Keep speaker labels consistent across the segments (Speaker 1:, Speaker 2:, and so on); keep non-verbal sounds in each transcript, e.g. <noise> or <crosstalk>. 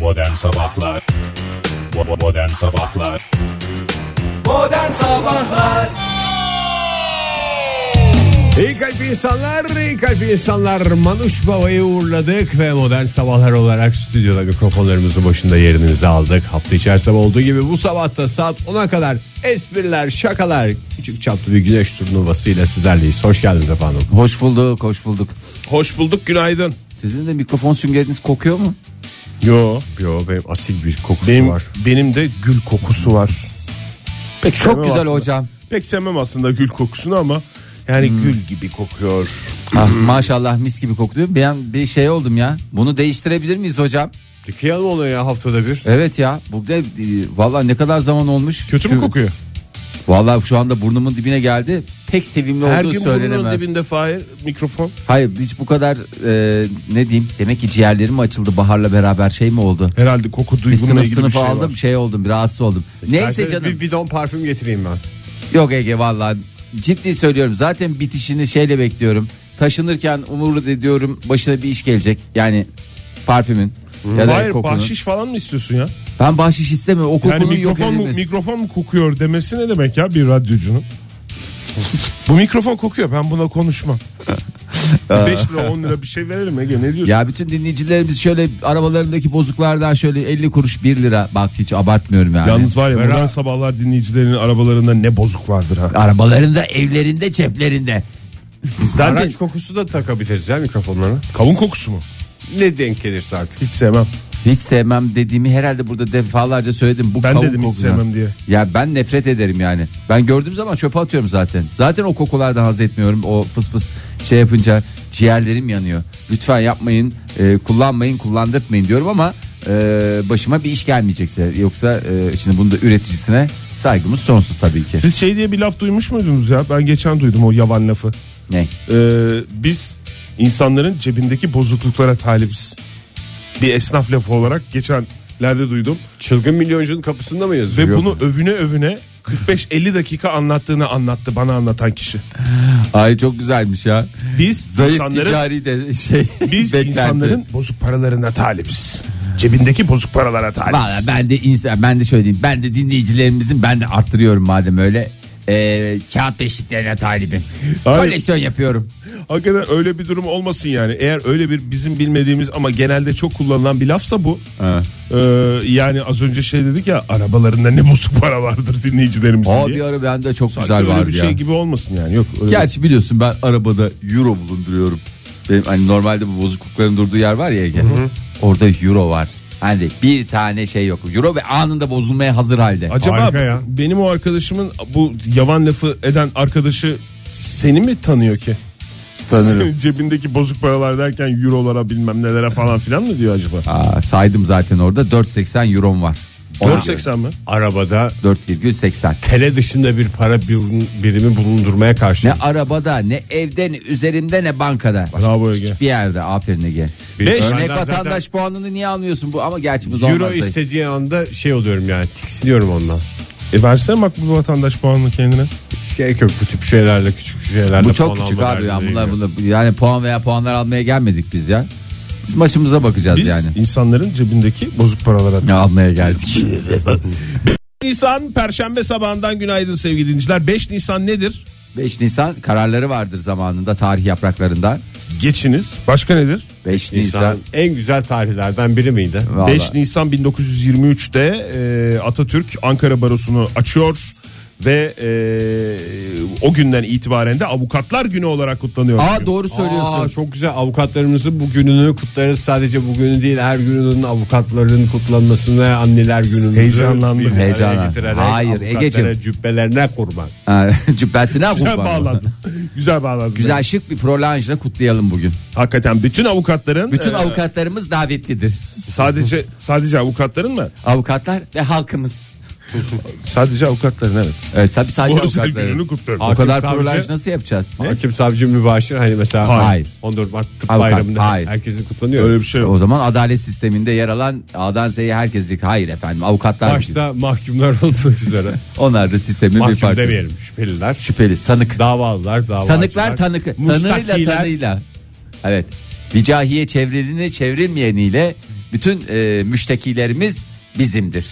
Speaker 1: Modern Sabahlar Bo- Modern Sabahlar
Speaker 2: Modern Sabahlar
Speaker 3: İyi kalp insanlar, iyi kalp insanlar. Manuş Baba'yı uğurladık ve modern sabahlar olarak stüdyoda mikrofonlarımızın başında yerimizi aldık. Hafta içerisinde olduğu gibi bu sabahta saat 10'a kadar espriler, şakalar, küçük çaplı bir güneş turnuvasıyla sizlerleyiz. Hoş geldiniz efendim.
Speaker 4: Hoş bulduk, hoş bulduk.
Speaker 5: Hoş bulduk günaydın.
Speaker 4: Sizin de mikrofon süngeriniz kokuyor mu?
Speaker 5: Yo
Speaker 3: Yo benim asil bir kokusu
Speaker 5: benim,
Speaker 3: var.
Speaker 5: benim de gül kokusu var. Pek
Speaker 4: Çok
Speaker 5: sevmem
Speaker 4: güzel
Speaker 5: aslında.
Speaker 4: hocam.
Speaker 5: Pek sevmem aslında gül kokusunu ama yani gül gibi kokuyor.
Speaker 4: Ah, maşallah mis gibi kokluyor. Ben bir şey oldum ya. Bunu değiştirebilir miyiz hocam?
Speaker 3: Yıkayalım onu ya haftada bir.
Speaker 4: Evet ya. Bu da e, valla ne kadar zaman olmuş.
Speaker 5: Kötü mü
Speaker 4: Şu-
Speaker 5: kokuyor?
Speaker 4: Valla şu anda burnumun dibine geldi. Pek sevimli
Speaker 5: Her
Speaker 4: olduğu
Speaker 5: gün burnunun
Speaker 4: söylenemez.
Speaker 5: dibinde Fahir mikrofon.
Speaker 4: Hayır hiç bu kadar e, ne diyeyim. Demek ki ciğerlerim açıldı baharla beraber şey mi oldu?
Speaker 5: Herhalde koku
Speaker 4: Bir
Speaker 5: duygumla
Speaker 4: sınıf
Speaker 5: ilgili bir
Speaker 4: sınıfa
Speaker 5: şey var. E,
Speaker 4: aldım şey oldum rahatsız oldum. Neyse
Speaker 3: İsterseniz
Speaker 4: canım.
Speaker 3: Bir bidon parfüm getireyim ben.
Speaker 4: Yok Ege valla ciddi söylüyorum zaten bitişini şeyle bekliyorum. Taşınırken umurlu ediyorum başına bir iş gelecek. Yani parfümün ya da
Speaker 5: Fahir
Speaker 4: kokunun.
Speaker 5: bahşiş falan mı istiyorsun ya?
Speaker 4: Ben bahşiş istemiyorum o kokunun
Speaker 5: yani
Speaker 4: yok
Speaker 5: mikrofon mu,
Speaker 4: edilmesi.
Speaker 5: mikrofon mu kokuyor demesi ne demek ya bir radyocunun? Bu mikrofon kokuyor ben buna konuşmam. 5 lira 10 lira bir şey verelim Ege ne diyorsun?
Speaker 4: Ya bütün dinleyicilerimiz şöyle arabalarındaki bozuklardan şöyle 50 kuruş 1 lira bak hiç abartmıyorum yani.
Speaker 5: Yalnız var ya buradan sabahlar dinleyicilerin arabalarında ne bozuk vardır ha.
Speaker 4: Arabalarında, evlerinde, ceplerinde.
Speaker 5: Zaten
Speaker 3: Araç kokusu da takabiliriz ya mikrofonlara.
Speaker 5: kavun kokusu mu?
Speaker 3: Ne denk gelirse artık.
Speaker 5: Hiç sevmem.
Speaker 4: Hiç sevmem dediğimi herhalde burada defalarca söyledim. Bu
Speaker 5: Ben
Speaker 4: kavun
Speaker 5: dedim hiç
Speaker 4: kokuyor.
Speaker 5: sevmem diye.
Speaker 4: Ya ben nefret ederim yani. Ben gördüğüm zaman çöpe atıyorum zaten. Zaten o kokulardan haz etmiyorum. O fıs fıs şey yapınca ciğerlerim yanıyor. Lütfen yapmayın, e, kullanmayın, kullandırtmayın diyorum ama e, başıma bir iş gelmeyecekse. Yoksa e, şimdi bunu da üreticisine saygımız sonsuz tabii ki.
Speaker 5: Siz şey diye bir laf duymuş muydunuz ya? Ben geçen duydum o yavan lafı.
Speaker 4: Ne?
Speaker 5: Ee, biz insanların cebindeki bozukluklara talibiz. Bir esnaf lafı olarak geçenlerde duydum.
Speaker 3: Çılgın milyoncunun kapısında mı yazıyor?
Speaker 5: Ve bunu övüne övüne 45-50 dakika anlattığını anlattı bana anlatan kişi.
Speaker 4: Ay çok güzelmiş ya.
Speaker 5: Biz
Speaker 4: <laughs> Zayıf
Speaker 5: insanların,
Speaker 4: ticari de şey.
Speaker 5: biz
Speaker 4: <laughs> beklenti.
Speaker 5: insanların bozuk paralarına talibiz. Cebindeki bozuk paralara
Speaker 4: Valla
Speaker 5: talibiz.
Speaker 4: ben de insan, ben de şöyle diyeyim. Ben de dinleyicilerimizin ben de arttırıyorum madem öyle. E, kağıt beşliklerine talibim.
Speaker 5: Hayır.
Speaker 4: Koleksiyon yapıyorum.
Speaker 5: Hakikaten öyle bir durum olmasın yani. Eğer öyle bir bizim bilmediğimiz ama genelde çok kullanılan bir lafsa bu. Ee, yani az önce şey dedik ya arabalarında ne bozuk para vardır dinleyicilerimiz
Speaker 4: Aa,
Speaker 5: diye.
Speaker 4: bir ara bende çok
Speaker 5: Sanki
Speaker 4: güzel
Speaker 5: öyle
Speaker 4: vardı
Speaker 5: bir
Speaker 4: ya.
Speaker 5: şey gibi olmasın yani. Yok öyle-
Speaker 4: Gerçi biliyorsun ben arabada euro bulunduruyorum. Benim hani normalde bu bozuklukların durduğu yer var ya Ege. Orada euro var. Hani bir tane şey yok. Euro ve anında bozulmaya hazır halde.
Speaker 5: Acaba
Speaker 3: Harika ya.
Speaker 5: benim o arkadaşımın bu yavan lafı eden arkadaşı seni mi tanıyor ki? Senin <laughs> cebindeki bozuk paralar derken eurolara bilmem nelere falan filan mı diyor acaba?
Speaker 4: Aa, saydım zaten orada 4.80 eurom var. Ona-
Speaker 5: 4.80 mi?
Speaker 3: Arabada
Speaker 4: 4,80.
Speaker 3: tele dışında bir para bir- birimi bulundurmaya karşı.
Speaker 4: Ne arabada ne evde ne üzerimde ne bankada.
Speaker 5: Bravo Ege.
Speaker 4: Hiçbir yerde aferin Ege.
Speaker 3: Bir-
Speaker 4: Örnek
Speaker 3: Benden zaten-
Speaker 4: vatandaş puanını niye almıyorsun bu ama gerçi bu da
Speaker 3: Euro
Speaker 4: olmaz da.
Speaker 3: istediği anda şey oluyorum yani tiksiniyorum ondan.
Speaker 5: E versene makbul vatandaş puanını kendine.
Speaker 3: Hiç gerek yok bu tip şeylerle küçük şeylerle.
Speaker 4: Bu çok
Speaker 3: puan
Speaker 4: küçük
Speaker 3: alma
Speaker 4: abi ya.
Speaker 3: derdine
Speaker 4: Bunlar,
Speaker 3: giriyor.
Speaker 4: bunlar- yani puan veya puanlar almaya gelmedik biz ya. Biz maçımıza bakacağız
Speaker 5: Biz
Speaker 4: yani.
Speaker 5: insanların cebindeki bozuk paralara
Speaker 4: Ya almaya geldik.
Speaker 5: Nisan Perşembe sabahından günaydın sevgili dinleyiciler. 5 Nisan nedir?
Speaker 4: 5 Nisan kararları vardır zamanında tarih yapraklarında.
Speaker 5: Geçiniz. Başka nedir?
Speaker 4: 5 Nisan.
Speaker 3: İnsan en güzel tarihlerden biri miydi?
Speaker 4: Vallahi.
Speaker 5: 5 Nisan 1923'te e, Atatürk Ankara Barosu'nu açıyor ve e, o günden itibaren de Avukatlar Günü olarak kutlanıyor.
Speaker 4: Aa
Speaker 5: bugün.
Speaker 4: doğru söylüyorsun.
Speaker 3: Aa, çok güzel avukatlarımızın bugününü kutlarız. Sadece bugünü değil her gününün avukatların kutlanmasını anneler gününü
Speaker 5: Heyecanlandım.
Speaker 4: Heyecanlan. Hayır, Egeciğim.
Speaker 3: Cübbelerine kurban.
Speaker 4: <laughs> Cübbesine
Speaker 5: Güzel
Speaker 4: kurban. <laughs>
Speaker 5: bağladın. Güzel bağladın.
Speaker 4: Güzel şık bir prolanjla kutlayalım bugün.
Speaker 5: Hakikaten bütün avukatların
Speaker 4: Bütün
Speaker 5: e,
Speaker 4: avukatlarımız davetlidir.
Speaker 5: sadece sadece avukatların mı?
Speaker 4: Avukatlar ve halkımız.
Speaker 5: Sadece avukatların evet.
Speaker 4: Evet tabii sadece
Speaker 5: Bu özel
Speaker 4: avukatların.
Speaker 5: gününü kutluyorum.
Speaker 4: O
Speaker 3: Hakim,
Speaker 4: kadar
Speaker 3: savcı-
Speaker 4: prolanj nasıl yapacağız?
Speaker 3: Hakim savcı mübaşir hani mesela
Speaker 4: Hayır. Hayır.
Speaker 3: 14 Mart tıp
Speaker 4: Avukat,
Speaker 3: bayramında
Speaker 4: hayır.
Speaker 3: herkesin kutlanıyor.
Speaker 5: Öyle bir şey yok.
Speaker 4: O zaman adalet sisteminde yer alan A'dan Z'ye herkes diyor ki, hayır efendim avukatlar. bugün."
Speaker 3: Başta mahkumlar olmak üzere.
Speaker 4: Onlar da sistemin bir
Speaker 3: Mahkum
Speaker 4: parçası.
Speaker 3: demeyelim şüpheliler.
Speaker 4: Şüpheli sanık.
Speaker 3: Davalılar, davacılar.
Speaker 4: Sanıklar tanık sanığıyla
Speaker 3: mustakiler.
Speaker 4: tanıyla. Evet. Vicahiye çevrilini çevrilmeyeniyle Bütün e, müştekilerimiz bizimdir.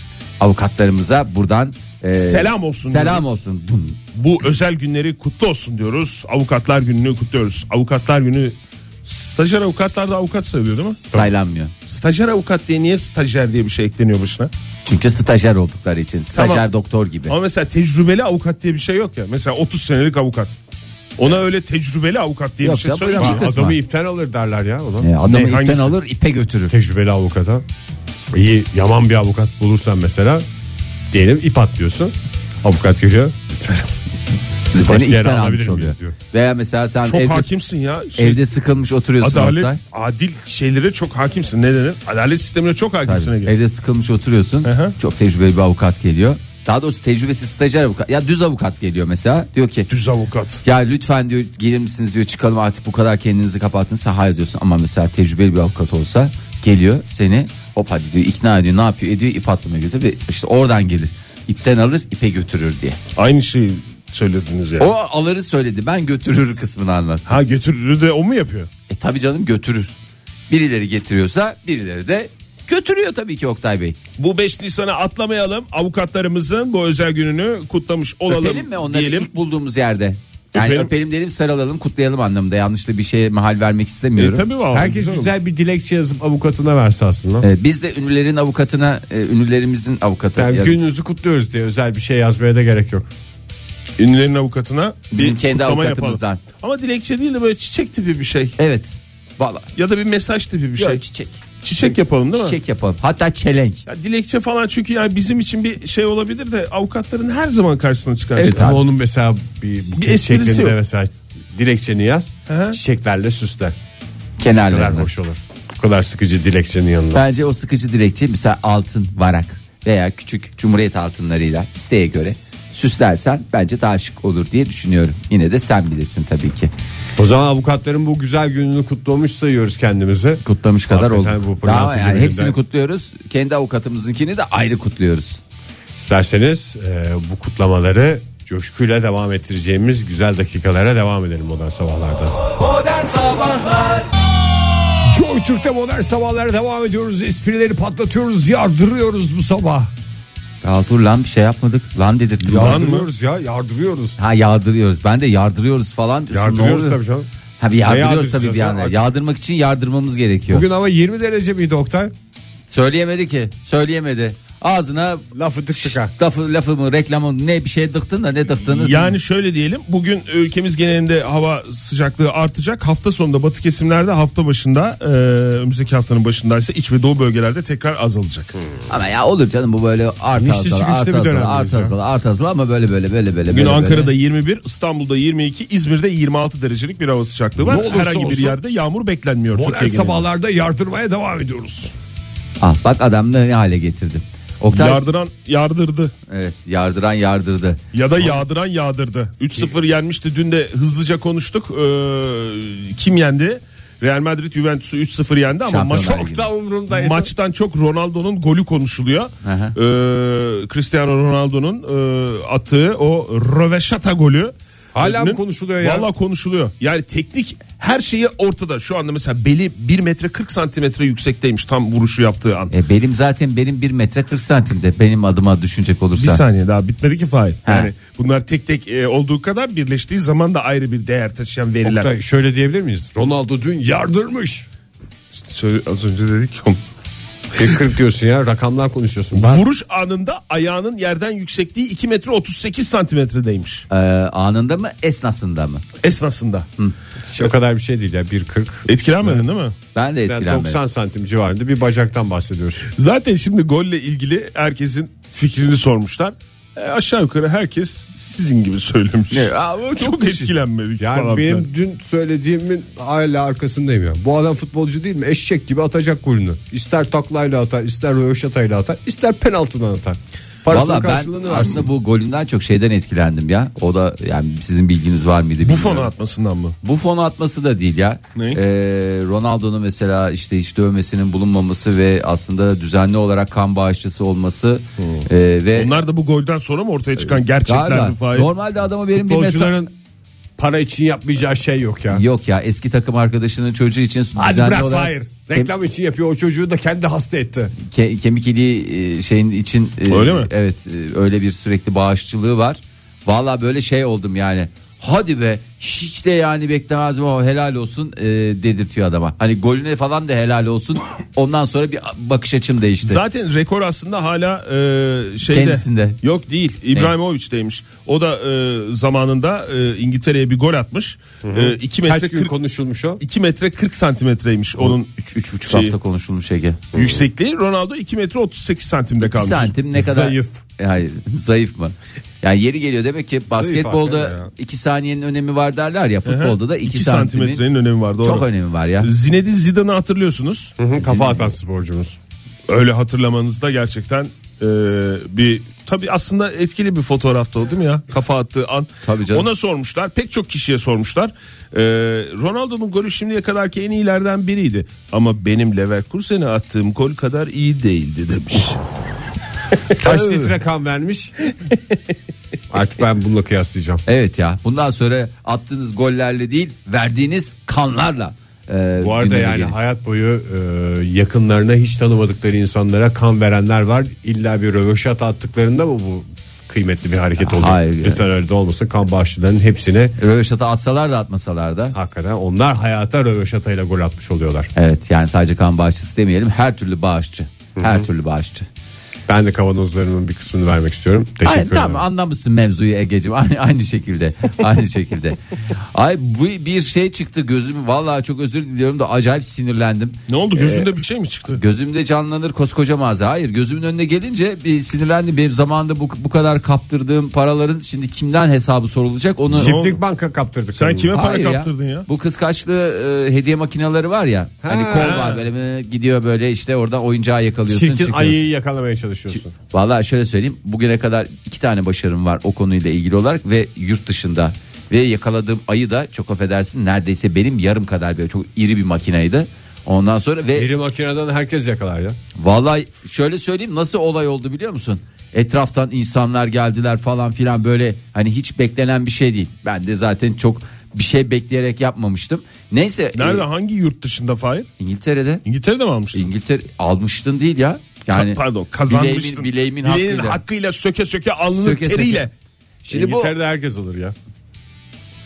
Speaker 4: Avukatlarımıza buradan e,
Speaker 5: Selam olsun
Speaker 4: Selam
Speaker 5: diyoruz.
Speaker 4: olsun. Dun.
Speaker 5: Bu özel günleri kutlu olsun diyoruz. Avukatlar gününü kutluyoruz. Avukatlar günü stajyer avukatlar da avukat sayılıyor değil mi?
Speaker 4: Saylanmıyor.
Speaker 5: Stajyer avukat diye niye stajyer diye bir şey ekleniyor başına?
Speaker 4: Çünkü stajyer oldukları için. Stajyer
Speaker 5: Tamam.
Speaker 4: doktor gibi.
Speaker 5: Ama mesela tecrübeli avukat diye bir şey yok ya. Mesela 30 senelik avukat. Ona öyle tecrübeli avukat diye
Speaker 4: Yok
Speaker 5: bir şey
Speaker 4: ya, bu
Speaker 5: söyleme.
Speaker 4: yanlış.
Speaker 3: Ha,
Speaker 4: Kısmen.
Speaker 3: adamı ipten alır derler ya ona.
Speaker 4: E, adamı
Speaker 5: Ne,
Speaker 4: ipten
Speaker 5: hangisi?
Speaker 4: alır ipe götürür.
Speaker 3: Tecrübeli avukata iyi yaman bir avukat bulursan mesela diyelim ip atlıyorsun. Avukat geliyor.
Speaker 4: Seni
Speaker 3: Başka yere
Speaker 4: ipten
Speaker 3: alabilir
Speaker 4: almış
Speaker 3: miyiz
Speaker 4: oluyor.
Speaker 3: diyor.
Speaker 4: Veya mesela sen
Speaker 5: Çok
Speaker 4: evde,
Speaker 5: hakimsin ya. Şey,
Speaker 4: evde sıkılmış oturuyorsun.
Speaker 5: adalet,
Speaker 4: Oktay.
Speaker 5: adil şeylere çok hakimsin. Ne denir? Adalet sistemine çok
Speaker 4: Tabii.
Speaker 5: hakimsin. Ege.
Speaker 4: Evde sıkılmış oturuyorsun.
Speaker 5: Aha.
Speaker 4: Çok tecrübeli bir avukat geliyor. Daha doğrusu tecrübesiz stajyer avukat. Ya düz avukat geliyor mesela. Diyor ki
Speaker 5: Düz avukat.
Speaker 4: ya lütfen diyor gelir misiniz diyor çıkalım artık bu kadar kendinizi kapatın. Sen hayır diyorsun ama mesela tecrübeli bir avukat olsa geliyor seni hop hadi diyor ikna ediyor ne yapıyor ediyor ip atlamaya götürüyor ve işte oradan gelir. İpten alır ipe götürür diye.
Speaker 5: Aynı şeyi söylediniz ya.
Speaker 4: O alırı söyledi ben götürür kısmını anlat.
Speaker 5: Ha götürür de o mu yapıyor?
Speaker 4: E tabi canım götürür. Birileri getiriyorsa birileri de götürüyor tabii ki Oktay Bey.
Speaker 5: Bu 5 Nisan'a atlamayalım. Avukatlarımızın bu özel gününü kutlamış olalım
Speaker 4: Öpelim mi onları
Speaker 5: diyelim.
Speaker 4: ilk bulduğumuz yerde? Yani öpelim.
Speaker 5: Öpelim.
Speaker 4: dedim sarılalım kutlayalım anlamında. Yanlışlı bir şeye mahal vermek
Speaker 5: E,
Speaker 4: istemiyorum.
Speaker 5: tabii vallahi
Speaker 3: Herkes
Speaker 5: olur.
Speaker 3: güzel bir dilekçe yazıp avukatına verse aslında.
Speaker 4: Ee, biz de ünlülerin avukatına, e, ünlülerimizin avukatı.
Speaker 3: Yani
Speaker 4: ya-
Speaker 3: gününüzü kutluyoruz diye özel bir şey yazmaya da gerek yok.
Speaker 5: Ünlülerin avukatına bir
Speaker 4: Bizim kendi
Speaker 5: kutlama
Speaker 4: avukatımızdan.
Speaker 5: yapalım. Ama dilekçe değil de böyle çiçek tipi bir şey.
Speaker 4: Evet. Valla.
Speaker 5: Ya da bir mesaj tipi bir şey.
Speaker 4: Yok,
Speaker 5: çiçek,
Speaker 4: çiçek.
Speaker 5: yapalım değil mi?
Speaker 4: Çiçek yapalım. Hatta çelenk.
Speaker 5: Ya dilekçe falan çünkü yani bizim için bir şey olabilir de avukatların her zaman karşısına şey. çıkar.
Speaker 4: Evet.
Speaker 3: Ama onun mesela bir buket
Speaker 5: E, esprisi
Speaker 3: şeklinde
Speaker 5: yok.
Speaker 3: mesela dilekçeni yaz.
Speaker 5: Hı.
Speaker 3: Çiçeklerle süsle. Ne kadar
Speaker 4: Kenarlarına.
Speaker 3: hoş olur. Bu kadar sıkıcı dilekçenin yanında.
Speaker 4: Bence o sıkıcı dilekçe mesela altın, varak veya küçük cumhuriyet altınlarıyla isteğe göre süslersen bence daha şık olur diye düşünüyorum. Yine de sen bilirsin tabii ki.
Speaker 3: O zaman avukatların bu güzel gününü kutlamış sayıyoruz kendimizi.
Speaker 4: Kutlamış kadar
Speaker 3: Hakikaten
Speaker 4: oldu.
Speaker 3: bu pırlantacı
Speaker 4: yani
Speaker 3: bölümden-
Speaker 4: hepsini kutluyoruz. Kendi avukatımızınkini de ayrı kutluyoruz.
Speaker 3: İsterseniz e, bu kutlamaları coşkuyla devam ettireceğimiz güzel dakikalara devam edelim modern sabahlarda.
Speaker 2: Modern Sabahlar
Speaker 3: Joy Türk'te modern sabahlara devam ediyoruz. Esprileri patlatıyoruz, yardırıyoruz bu sabah.
Speaker 4: Kaldır lan bir şey yapmadık. Lan dedirttim.
Speaker 5: Lan mı?
Speaker 3: Yardırıyoruz ya, yardırıyoruz.
Speaker 4: Ha yağdırıyoruz. Ben de yağdırıyoruz falan. diyorsun. Ne
Speaker 3: Yardırıyoruz
Speaker 4: oluyor?
Speaker 3: tabii canım.
Speaker 4: Ha bir yağdırıyoruz tabii
Speaker 3: yağdıracağız
Speaker 4: bir
Speaker 3: ya?
Speaker 4: yandan.
Speaker 3: Artık-
Speaker 4: Yağdırmak için yağdırmamız gerekiyor.
Speaker 3: Bugün hava 20 derece miydi Oktay?
Speaker 4: Söyleyemedi ki. Söyleyemedi. Ağzına
Speaker 3: Lafı tık
Speaker 4: şş,
Speaker 3: tıka.
Speaker 4: lafı, lafımı reklamı ne bir şey dıktın da ne dıktığını.
Speaker 5: Yani şöyle diyelim bugün ülkemiz genelinde hava sıcaklığı artacak. Hafta sonunda batı kesimlerde hafta başında e, önümüzdeki haftanın başındaysa iç ve doğu bölgelerde tekrar azalacak.
Speaker 3: Hmm.
Speaker 4: ama ya olur canım bu böyle art
Speaker 3: İnişli
Speaker 4: azalı
Speaker 3: çıkışlı
Speaker 4: art
Speaker 3: bir
Speaker 4: azalı
Speaker 3: dönemdeyiz
Speaker 4: art
Speaker 3: ya.
Speaker 4: azalı art azalı ama böyle böyle böyle böyle.
Speaker 5: Bugün
Speaker 4: böyle,
Speaker 5: Ankara'da
Speaker 4: böyle.
Speaker 5: 21, İstanbul'da 22, İzmir'de 26 derecelik bir hava sıcaklığı var.
Speaker 3: Ne olursa
Speaker 5: Herhangi bir
Speaker 3: olsun-
Speaker 5: yerde yağmur beklenmiyor.
Speaker 3: Modern
Speaker 5: Türkiye genelinde.
Speaker 3: sabahlarda yardırmaya devam ediyoruz.
Speaker 4: Ah bak adam ne hale getirdi. Oktay
Speaker 5: Yardıran yardırdı
Speaker 4: evet, yardıran yardırdı.
Speaker 5: ya da yağdıran yağdırdı. 3-0 yenmişti. Dün de hızlıca konuştuk. Ee, kim yendi? Real Madrid Juventus'u 3-0 yendi ama maç
Speaker 4: Şampiyonlar Ligi.
Speaker 5: çok
Speaker 3: Da umurumdaydı.
Speaker 5: Maçtan çok Ronaldo'nun golü konuşuluyor.
Speaker 4: Aha.
Speaker 5: Ee, Cristiano Ronaldo'nun e, attığı o röveşata golü.
Speaker 3: Hala mı konuşuluyor ya?
Speaker 5: Valla konuşuluyor. Yani teknik her şeyi ortada. Şu anda mesela beli 1 metre 40 santimetre yüksekteymiş tam vuruşu yaptığı an.
Speaker 4: E, benim zaten benim 1 metre 40 santimde benim adıma düşünecek
Speaker 5: Bir
Speaker 4: olursa.
Speaker 5: saniye daha bitmedi ki Fahir.
Speaker 4: Ha.
Speaker 5: Yani bunlar tek tek e, olduğu kadar birleştiği zaman da ayrı bir değer taşıyan veriler.
Speaker 3: Oktay, şöyle diyebilir miyiz? Ronaldo dün yardırmış.
Speaker 5: Söyle- az önce dedik ya.
Speaker 3: E 40 diyorsun ya rakamlar konuşuyorsun. Ben
Speaker 5: Vuruş anında ayağının yerden yüksekliği 2 metre 38 santimetredeymiş
Speaker 4: Ee, anında mı esnasında mı?
Speaker 5: esnasında.
Speaker 3: o kadar bir şey değil ya 1.40.
Speaker 5: Etkilenmedin değil mi?
Speaker 4: Ben de
Speaker 3: Yani
Speaker 4: etkilenmedim.
Speaker 3: 90 santim civarında bir bacaktan bahsediyoruz.
Speaker 5: Zaten şimdi golle ilgili herkesin fikrini sormuşlar. E, aşağı yukarı herkes sizin gibi söylemiş.
Speaker 4: Ne? Aa, bu çok
Speaker 5: çok
Speaker 4: küçük.
Speaker 5: etkilenmedik
Speaker 3: Yani
Speaker 5: falan
Speaker 3: benim
Speaker 5: filan.
Speaker 3: dün söylediğimin hala arkasındayım ya. Bu adam futbolcu değil mi? Eşek gibi atacak golünü. İster taklayla atar, ister röveşatayla atar, ister penaltıdan atar. Parasının
Speaker 4: Valla ben
Speaker 3: karşılığını versin.
Speaker 4: aslında bu golünden çok şeyden etkilendim ya. O da yani sizin bilginiz var mıydı
Speaker 5: Bu
Speaker 4: bilmiyorum.
Speaker 5: fonu atmasından mı?
Speaker 4: Bu fonu atması da değil ya.
Speaker 5: Ne?
Speaker 4: Ee, Ronaldo'nun mesela işte hiç dövmesinin bulunmaması ve aslında düzenli olarak kan bağışçısı olması ee, ve
Speaker 3: Hmm.
Speaker 5: Onlar da bu golden sonra mı ortaya çıkan
Speaker 4: Galiba
Speaker 5: gerçekler mi Fahir?
Speaker 4: normalde adama benim bir mesaj
Speaker 3: Futbolcuların para için yapmayacağı şey yok ya.
Speaker 4: Yok ya eski takım arkadaşının çocuğu için
Speaker 3: Hadi
Speaker 4: düzenli
Speaker 3: bırak
Speaker 4: olarak
Speaker 3: hayır. Reklam için yapıyor o çocuğu da kendi hasta etti.
Speaker 4: ke- kemik iliği e, şeyin için e,
Speaker 5: Öyle mi?
Speaker 4: Evet e, öyle bir sürekli bağışçılığı var. Valla böyle şey oldum yani. Hadi be hiç de yani beklemezdim ama helal olsun e, dedirtiyor adama. Hani golüne falan da helal olsun. Ondan sonra bir bakış açım değişti.
Speaker 5: Zaten rekor aslında hala e, şeyde.
Speaker 4: Kendisinde.
Speaker 5: Yok değil. İbrahimovic'teymiş. O da e, zamanında e, İngiltere'ye bir gol atmış. 2 metre
Speaker 3: Kaç gün
Speaker 5: 40
Speaker 3: konuşulmuş o?
Speaker 5: 2 metre 40 santimetreymiş onun
Speaker 4: 3 üç, buçuk
Speaker 5: Şeyi-
Speaker 4: hafta konuşulmuş Ege.
Speaker 5: yüksekliği. Ronaldo 2 metre 38 santimde
Speaker 4: Bir
Speaker 5: kalmış.
Speaker 4: santim ne kadar
Speaker 3: Zayıf.
Speaker 4: E, Hayır, <laughs> zayıf mı? Yani yeri geliyor demek ki
Speaker 5: hakikaten ya.
Speaker 4: basketbolda 2 saniyenin önemi var derler ya futbolda da 2
Speaker 5: 2
Speaker 4: santimetrenin
Speaker 5: santimetrenin önemi var doğru.
Speaker 4: çok önemi var ya.
Speaker 5: Zinedine Zidane'ı hatırlıyorsunuz.
Speaker 3: Kafa atan sporcumuz.
Speaker 5: Öyle hatırlamanız da gerçekten e, bir tabi aslında etkili bir fotoğrafta oldu değil mi ya? Kafa attığı an.
Speaker 4: Tabii canım.
Speaker 5: Ona sormuşlar. Pek çok kişiye sormuşlar. E, Ronaldo'nun golü şimdiye kadarki en iyilerden biriydi. Ama benim Leverkusen'e attığım gol kadar iyi değildi demiş.
Speaker 4: Oh.
Speaker 3: Kaç litre kan vermiş? <laughs> Artık ben bununla kıyaslayacağım.
Speaker 4: Evet ya. Bundan sonra attığınız gollerle değil, verdiğiniz kanlarla. e,
Speaker 3: Bu arada
Speaker 4: gündeme
Speaker 3: yani
Speaker 4: gelin.
Speaker 3: hayat boyu e, yakınlarına hiç tanımadıkları insanlara kan verenler var. İlla bir röveşat attıklarında mı bu kıymetli bir hareket oluyor?
Speaker 4: Hayır.
Speaker 3: Literatürde olmasa kan bağışçılarının hepsine
Speaker 4: Röveşata atsalar da atmasalar da.
Speaker 3: hakikaten onlar hayata röveşatayla gol atmış oluyorlar.
Speaker 4: Evet yani sadece kan bağışçısı demeyelim. Her türlü bağışçı. Her türlü bağışçı.
Speaker 3: Ben de kavanozlarımın bir kısmını vermek istiyorum. Teşekkür
Speaker 4: Ay,
Speaker 3: ederim.
Speaker 4: tamam anlamışsın mevzuyu Ege'cim. <laughs> Aynı, aynı şekilde. aynı şekilde. Ay bu bir şey çıktı gözüm. Vallahi çok özür diliyorum da acayip sinirlendim.
Speaker 5: Ne oldu
Speaker 4: E,
Speaker 5: gözünde bir şey mi çıktı?
Speaker 4: Gözümde canlanır koskoca mağaza. Hayır gözümün önüne gelince bir sinirlendim. Benim zamanında bu, bu kadar kaptırdığım paraların şimdi kimden hesabı sorulacak onu...
Speaker 3: Çiftlik banka kaptırdık.
Speaker 5: Sen
Speaker 3: onu.
Speaker 5: kime para
Speaker 4: Hayır
Speaker 5: kaptırdın ya?
Speaker 4: Bu kıskaçlı e, hediye makineleri var ya. Hani kol var böyle mi, gidiyor böyle işte orada oyuncağı yakalıyorsun.
Speaker 3: Çirkin
Speaker 4: çıkıyor.
Speaker 3: ayıyı yakalamaya çalışıyorsun.
Speaker 4: Vallahi şöyle söyleyeyim bugüne kadar iki tane başarım var o konuyla ilgili olarak ve yurt dışında. Ve yakaladığım ayı da çok affedersin neredeyse benim yarım kadar böyle çok iri bir makineydi. Ondan sonra ve
Speaker 3: Biri e- makineden herkes yakalar ya.
Speaker 4: Vallahi şöyle söyleyeyim nasıl olay oldu biliyor musun? Etraftan insanlar geldiler falan filan böyle hani hiç beklenen bir şey değil. Ben de zaten çok bir şey bekleyerek yapmamıştım. Neyse
Speaker 5: Nerede
Speaker 4: e,
Speaker 5: hangi yurt dışında Fahir?
Speaker 4: İngiltere'de
Speaker 5: İngiltere'de mi almıştın?
Speaker 4: İngiltere almıştın değil ya. Yani
Speaker 5: Ka- Pardon kazanmıştın.
Speaker 4: Bileğimin, bileğimin
Speaker 5: Bileğinin
Speaker 4: hakkıyla.
Speaker 5: hakkıyla söke söke alnının
Speaker 4: Söke söke.
Speaker 5: teriyle.
Speaker 4: Şimdi bu
Speaker 3: İngiltere'de herkes alır ya.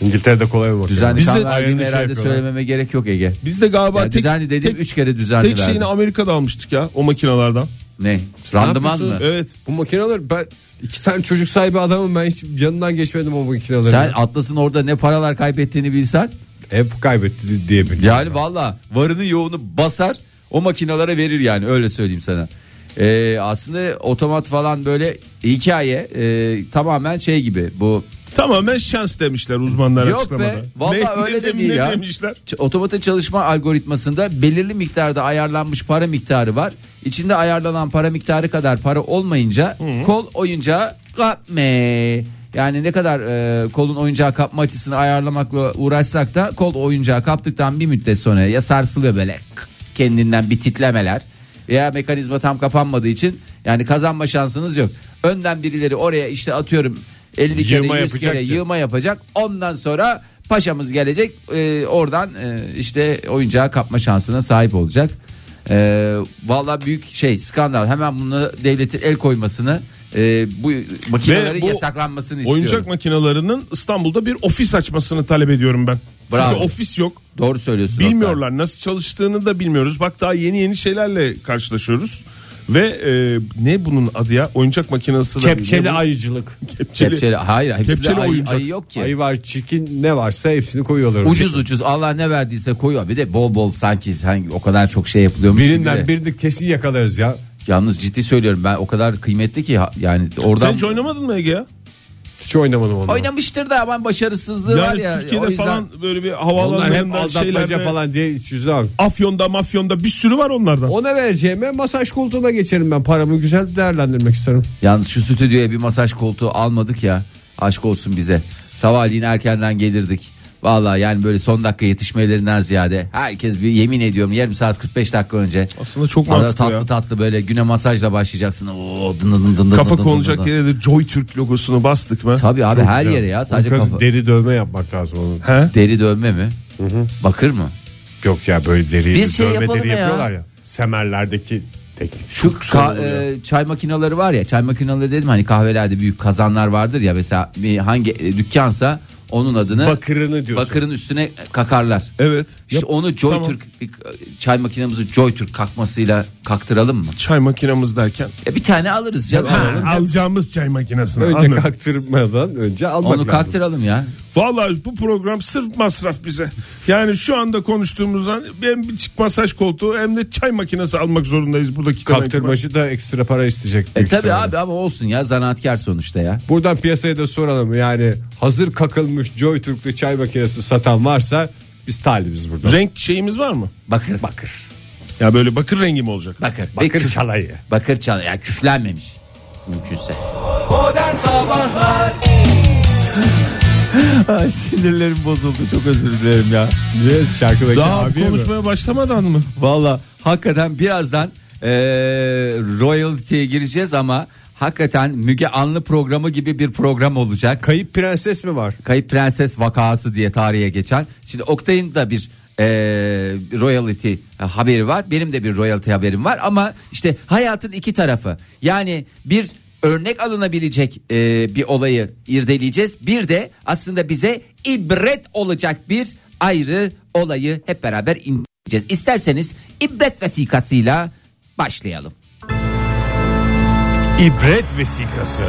Speaker 3: İngiltere'de kolay bir makine.
Speaker 4: düzenli
Speaker 5: Biz de
Speaker 4: kan verdiğimi
Speaker 3: aynı şey
Speaker 4: herhalde
Speaker 3: yapıyorlar.
Speaker 4: söylememe gerek yok Ege.
Speaker 5: Biz de galiba
Speaker 4: Yani
Speaker 5: tek,
Speaker 4: düzenli dedim
Speaker 5: tek,
Speaker 4: 3 kere düzenli
Speaker 5: tek şeyini
Speaker 4: verdim.
Speaker 5: Amerika'da almıştık ya o makinalardan.
Speaker 4: Ne? Randıman mı?
Speaker 3: yapıyorsunuz?
Speaker 5: Evet.
Speaker 3: Bu makineler ben iki tane çocuk sahibi adamım ben hiç yanından geçmedim o makinelerin.
Speaker 4: Sen Atlas'ın orada ne paralar kaybettiğini bilsen
Speaker 3: Hep kaybetti diye biliyorum.
Speaker 4: Yani valla varını yoğunu basar o makinalara verir yani öyle söyleyeyim sana. Ee, aslında otomat falan böyle hikaye e, tamamen şey gibi bu
Speaker 5: Tamamen şans demişler uzmanlar
Speaker 4: Yok
Speaker 5: açıklamada.
Speaker 4: be, vallahi öyle de
Speaker 5: dem-
Speaker 4: değil ya.
Speaker 5: demişler?
Speaker 4: ç- otomatın çalışma algoritmasında belirli miktarda ayarlanmış para miktarı var. İçinde ayarlanan para miktarı kadar para olmayınca kol oyuncağı kapme. Yani ne kadar e, kolun oyuncağı kapma açısını ayarlamakla uğraşsak da kol oyuncağı kaptıktan bir müddet sonra ya sarsılıyor böyle kık, kendinden bir titlemeler veya mekanizma tam kapanmadığı için yani kazanma şansınız yok. Önden birileri oraya işte atıyorum 50 kere
Speaker 3: Yığma
Speaker 4: 100 kere
Speaker 3: yapacak.
Speaker 4: yığ yığma yapacak. Ondan sonra paşamız gelecek. Ee, oradan e, işte oyuncağı kapma şansına sahip olacak. Ee, Valla büyük şey skandal. Hemen bunu devletin el koymasını e, bu makinelerin
Speaker 5: Ve bu
Speaker 4: yasaklanmasını istiyorum.
Speaker 5: Oyuncak makinelerinin İstanbul'da bir ofis açmasını talep ediyorum ben.
Speaker 4: Bravo.
Speaker 5: Çünkü ofis yok.
Speaker 4: Doğru söylüyorsun. Oktay.
Speaker 5: Bilmiyorlar nasıl çalıştığını da bilmiyoruz. Bak daha yeni yeni şeylerle karşılaşıyoruz. Ve e, ne bunun adı ya? Oyuncak makinesi de.
Speaker 3: Kepçeli
Speaker 5: Ne bu?
Speaker 3: ayıcılık.
Speaker 5: Kepçeli.
Speaker 4: Kepçeli, hayır hepsi
Speaker 5: Kepçeli
Speaker 4: de ayı,
Speaker 5: oyuncak.
Speaker 4: ayı yok ki.
Speaker 3: Ayı var çirkin ne varsa hepsini koyuyorlar. oraya.
Speaker 4: Ucuz ucuz Allah ne verdiyse koyuyor. Bir de bol bol sanki sanki o kadar çok şey yapılıyormuş. gibi de.
Speaker 3: Birinden birini kesin yakalarız ya.
Speaker 4: Yalnız ciddi söylüyorum ben o kadar kıymetli ki ha- yani oradan
Speaker 5: Sen hiç oynamadın mı Ege ya?
Speaker 3: Hiç oynamadım onu.
Speaker 4: oynamıştır da ben başarısızlığı var
Speaker 5: Yani
Speaker 4: ya.
Speaker 5: Türkiye'de
Speaker 4: o yüzden-
Speaker 5: falan böyle bir
Speaker 3: Onlar hep
Speaker 5: havalarından
Speaker 3: aldatmaca
Speaker 5: şeylerde. Falan.
Speaker 3: falan diye hiç yüzden.
Speaker 5: Afyon'da mafyonda bir sürü var onlardan.
Speaker 3: Ona vereceğime masaj koltuğuna geçerim ben. Paramı güzel değerlendirmek isterim.
Speaker 4: Yalnız şu stüdyoya bir masaj koltuğu almadık ya. Aşk olsun bize. Sabahleyin erkenden gelirdik. Vallahi yani böyle son dakika yetişmelerinden ziyade herkes bir yemin ediyorum yarım saat 45 dakika önce.
Speaker 5: Aslında çok
Speaker 4: Arada
Speaker 5: mantıklı
Speaker 4: tatlı
Speaker 5: ya.
Speaker 4: tatlı böyle güne masajla başlayacaksın. Oo, dın dın dın dın dın
Speaker 5: Kafa
Speaker 4: dın dın
Speaker 5: konacak
Speaker 4: dın.
Speaker 5: yere de Joy Türk logosunu bastık mı?
Speaker 4: Tabii abi her yere ya sadece
Speaker 3: Kız
Speaker 4: kafa.
Speaker 3: deri dövme yapmak lazım onun.
Speaker 5: He?
Speaker 4: Deri dövme mi? Bakır mı?
Speaker 3: Yok ya böyle deri
Speaker 4: Biz şey
Speaker 3: dövme
Speaker 4: yapalım
Speaker 3: deri
Speaker 4: ya.
Speaker 3: yapıyorlar ya. Semerlerdeki teknik. şey.
Speaker 4: Şu
Speaker 3: sorun
Speaker 4: ka-
Speaker 3: oluyor.
Speaker 4: e, çay makineleri var ya çay makineleri dedim hani kahvelerde büyük kazanlar vardır ya mesela bir hangi e, dükkansa onun adını
Speaker 3: Bakırını diyorsun.
Speaker 4: bakırın üstüne kakarlar.
Speaker 5: Evet.
Speaker 4: İşte
Speaker 5: Yap-
Speaker 4: onu Joy
Speaker 5: Tamam.
Speaker 4: Türk çay makinemizi Joy Türk kakmasıyla kaktıralım mı?
Speaker 5: Çay makinamız derken.
Speaker 4: Ya bir tane alırız canım.
Speaker 5: Ha, alacağımız çay makinesini.
Speaker 3: Önce
Speaker 5: anladım.
Speaker 3: kaktırmadan önce almak
Speaker 4: Onu
Speaker 3: lazım.
Speaker 4: kaktıralım ya.
Speaker 5: Vallahi bu program sırf masraf bize. Yani şu anda konuştuğumuzdan hem bir çık masaj koltuğu hem de çay makinesi almak zorundayız buradaki kadar.
Speaker 3: Kaktırmacı da ekstra para isteyecek.
Speaker 4: E
Speaker 3: büyük
Speaker 4: tabi
Speaker 3: ihtimalle.
Speaker 4: abi ama olsun ya zanaatkar sonuçta ya.
Speaker 3: Buradan piyasaya da soralım yani hazır kakılmış Joy Türk'lü çay makinesi satan varsa biz talibiz burada.
Speaker 5: Renk şeyimiz var mı?
Speaker 4: Bakır. Bakır.
Speaker 5: Ya böyle bakır rengi mi olacak?
Speaker 4: Bakır.
Speaker 3: Bakır
Speaker 4: Bakır,
Speaker 3: çalayı.
Speaker 4: bakır çal. Ya küflenmemiş. Mümkünse.
Speaker 2: Modern Sabahlar
Speaker 4: <laughs> Ay sinirlerim bozuldu çok özür dilerim ya.
Speaker 3: Niye şarkıdaki
Speaker 4: Daha
Speaker 3: abiye mi?
Speaker 5: Konuşmaya başlamadan mı?
Speaker 4: Valla hakikaten birazdan eee royalty'ye gireceğiz ama hakikaten Müge Anlı programı gibi bir program olacak.
Speaker 3: Kayıp prenses mi var?
Speaker 4: Kayıp Prenses vakası diye tarihe geçen. Şimdi Oktay'ın da bir eee royalty haberi var. Benim de bir royalty haberim var ama işte hayatın iki tarafı. Yani bir örnek alınabilecek eee, bir olayı irdeleyeceğiz. Bir de aslında bize ibret olacak bir ayrı olayı hep beraber inceleyeceğiz. İsterseniz ibret vesikasıyla başlayalım.
Speaker 3: İbret vesikası.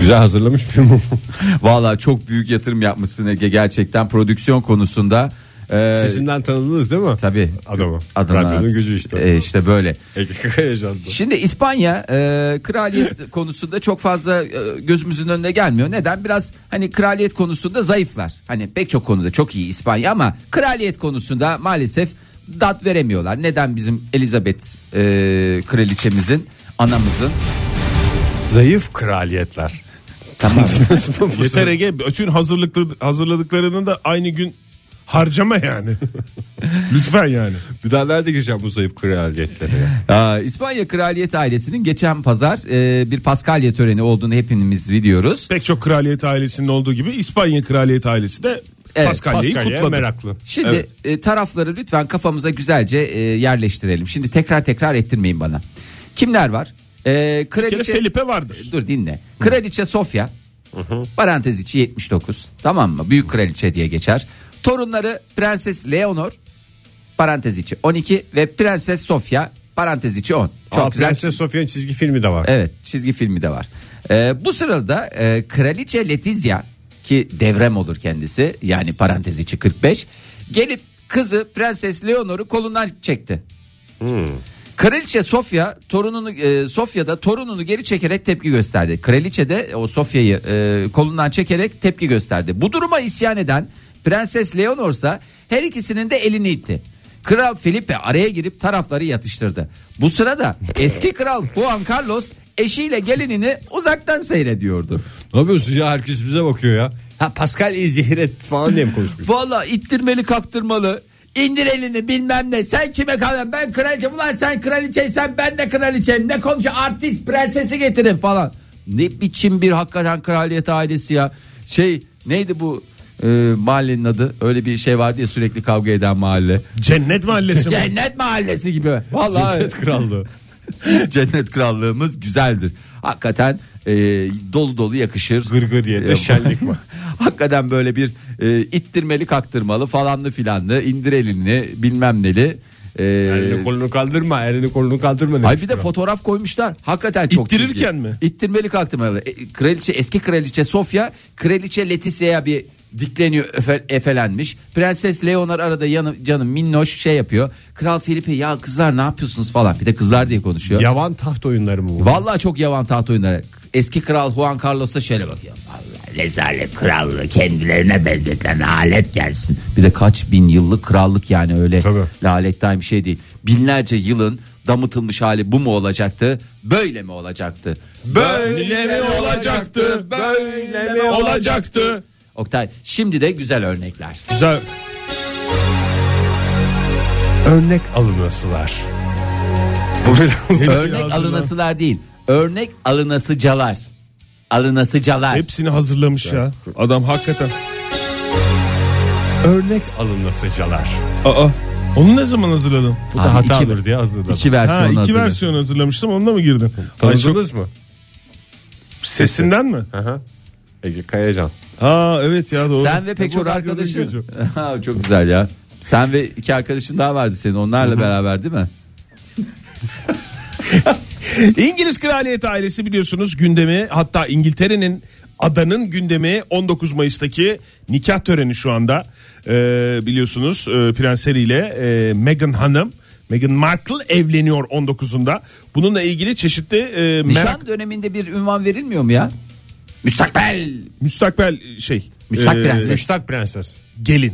Speaker 3: Güzel hazırlamış bir mum.
Speaker 4: Valla çok büyük yatırım yapmışsın Ege gerçekten prodüksiyon konusunda. Eee,
Speaker 3: Sesinden tanıdınız değil mi?
Speaker 4: Tabii.
Speaker 3: Adamı.
Speaker 4: Adana.
Speaker 3: Radyonun gücü işte.
Speaker 4: E, işte böyle.
Speaker 3: Ege Kaka yaşandı.
Speaker 4: Şimdi İspanya e,
Speaker 3: <laughs>
Speaker 4: kraliyet konusunda çok fazla e, gözümüzün önüne gelmiyor. Neden? Biraz hani kraliyet konusunda zayıflar. Hani pek çok konuda çok iyi İspanya ama kraliyet konusunda maalesef dat veremiyorlar. Neden bizim Elizabeth e, kraliçemizin anamızın
Speaker 3: Zayıf kraliyetler.
Speaker 4: tamam
Speaker 5: Yeter Ege bütün hazırlıklı, hazırladıklarını da aynı gün harcama yani. <laughs> Lütfen yani.
Speaker 3: Bir daha nerede gireceğim bu zayıf kraliyetlere? ya?
Speaker 4: <laughs> Aa, İspanya kraliyet ailesinin geçen pazar e, bir Paskalya töreni olduğunu hepimiz biliyoruz.
Speaker 5: Pek çok kraliyet ailesinin olduğu gibi İspanya kraliyet ailesi de
Speaker 4: Evet,
Speaker 5: Paskalya'yı
Speaker 3: Paskalya'ya
Speaker 5: kutladı.
Speaker 3: meraklı.
Speaker 4: Şimdi
Speaker 5: Evet.
Speaker 4: e, tarafları lütfen kafamıza güzelce e, yerleştirelim. Şimdi tekrar tekrar ettirmeyin bana. Kimler var? E,
Speaker 5: Bir kere
Speaker 4: kraliçe
Speaker 5: Felipe vardır.
Speaker 4: Dur dinle. Kraliçe Sofya. Parantez içi 79. Tamam mı? Büyük kraliçe diye geçer. Torunları Prenses Leonor. Parantez içi 12 ve Prenses Sofya. Parantez içi 10. Çok
Speaker 3: Aa,
Speaker 4: güzel.
Speaker 3: Prenses Sofya'nın çizgi filmi de var.
Speaker 4: Evet çizgi filmi de var. Ee, bu sırada e, Kraliçe Letizia ki devrem olur kendisi yani parantez içi 45 gelip kızı Prenses Leonor'u kolundan çekti. Kraliçe Sofya torununu e, Sofya'da torununu geri çekerek tepki gösterdi. Kraliçe de o Sofya'yı e, kolundan çekerek tepki gösterdi. Bu duruma isyan eden Prenses Leonor ise her ikisinin de elini itti. Kral Felipe araya girip tarafları yatıştırdı. Bu sırada eski kral Juan Carlos eşiyle gelinini uzaktan seyrediyordu.
Speaker 3: Ne yapıyorsun ya herkes bize bakıyor ya. Ha Pascal İzdihiret falan diye mi konuşmuş?
Speaker 4: Valla ittirmeli kaktırmalı. İndir elini bilmem ne. Sen kime kalın ben kraliçem. Ulan sen kraliçeysen ben de kraliçeyim. Ne komşu artist prensesi getirin falan. Ne biçim bir hakikaten kraliyet ailesi ya. Şey neydi bu e, mahallenin adı? Öyle bir şey vardı ya sürekli kavga eden mahalle.
Speaker 5: Cennet mahallesi mi?
Speaker 4: Cennet mahallesi gibi. Vallahi
Speaker 3: Cennet krallığı.
Speaker 4: <laughs> Cennet krallığımız güzeldir. Hakikaten e, dolu dolu yakışır.
Speaker 3: Gırgır ye de
Speaker 4: E,
Speaker 3: şenlik var.
Speaker 4: <laughs> Hakikaten böyle bir e, ittirmeli kaktırmalı falanlı filanlı indir elini bilmem neli. E,
Speaker 3: Elini <laughs> kolunu kaldırma, elini kolunu kaldırma demiş.
Speaker 4: Ay bir de fotoğraf koymuşlar. Hakikaten çok
Speaker 5: İttirirken
Speaker 4: çirkin.
Speaker 5: mi?
Speaker 4: İttirmeli kaktırmalı. E, Kraliçe eski kraliçe Sofya, kraliçe Leticia'ya bir dikleniyor öfe- efelenmiş. Prenses Leonor arada yanı, canım minnoş şey yapıyor. Kral Felipe ya kızlar ne yapıyorsunuz falan. Bir de kızlar diye konuşuyor.
Speaker 3: Yavan taht oyunları mı bu?
Speaker 4: Vallahi çok yavan taht oyunları. Eski kral Juan Carlos da şöyle bakıyor. Vallahi rezalet krallığı kendilerine benzeten alet gelsin. Bir de kaç bin yıllık krallık yani öyle
Speaker 3: Tabii.
Speaker 4: laletten bir şey değil. Binlerce yılın damıtılmış hali bu mu olacaktı? Böyle mi olacaktı?
Speaker 5: Böyle mi olacaktı? Böyle mi olacaktı?
Speaker 4: Oktay şimdi de güzel örnekler.
Speaker 5: Güzel.
Speaker 3: Örnek alınasılar.
Speaker 5: Hepsini
Speaker 4: Örnek
Speaker 5: hazırla-
Speaker 4: alınasılar değil. Örnek alınasıcalar. Alınasıcalar.
Speaker 5: Hepsini hazırlamış ya. Adam hakikaten.
Speaker 3: Örnek alınasıcalar.
Speaker 5: Aa. Onu ne zaman hazırladın?
Speaker 3: Bu
Speaker 4: Abi
Speaker 3: da hata
Speaker 4: iki-
Speaker 3: olur diye hazırladım.
Speaker 4: İki
Speaker 5: Ha,
Speaker 4: versiyon
Speaker 5: iki
Speaker 4: hazırladım.
Speaker 5: versiyon hazırlamıştım. Onunla mı girdin? Ay, çok-
Speaker 3: Tanıdınız mı?
Speaker 5: Sesinden mi?
Speaker 3: Aha. Ege Kayacan.
Speaker 5: Ha evet ya doğru.
Speaker 4: Sen ve pek
Speaker 5: Bu
Speaker 4: çok
Speaker 5: da
Speaker 4: arkadaşın.
Speaker 5: gördüğün
Speaker 4: <laughs> Ha, çok güzel ya. Sen ve iki arkadaşın daha vardı senin onlarla beraber değil mi?
Speaker 5: gücü. İngiliz kraliyet ailesi biliyorsunuz gündemi hatta İngiltere'nin adanın gündemi 19 Mayıs'taki nikah töreni şu anda. Ee, biliyorsunuz e, Prens Harry ile e, Meghan Hanım Meghan Markle evleniyor 19'unda. Bununla ilgili çeşitli e,
Speaker 4: Nişan
Speaker 5: merak
Speaker 4: döneminde bir ünvan verilmiyor mu ya? Müstakbel.
Speaker 5: müstakbel şey.
Speaker 4: Müstak
Speaker 5: e,
Speaker 4: prenses.
Speaker 3: Müştak Prenses.
Speaker 5: gelin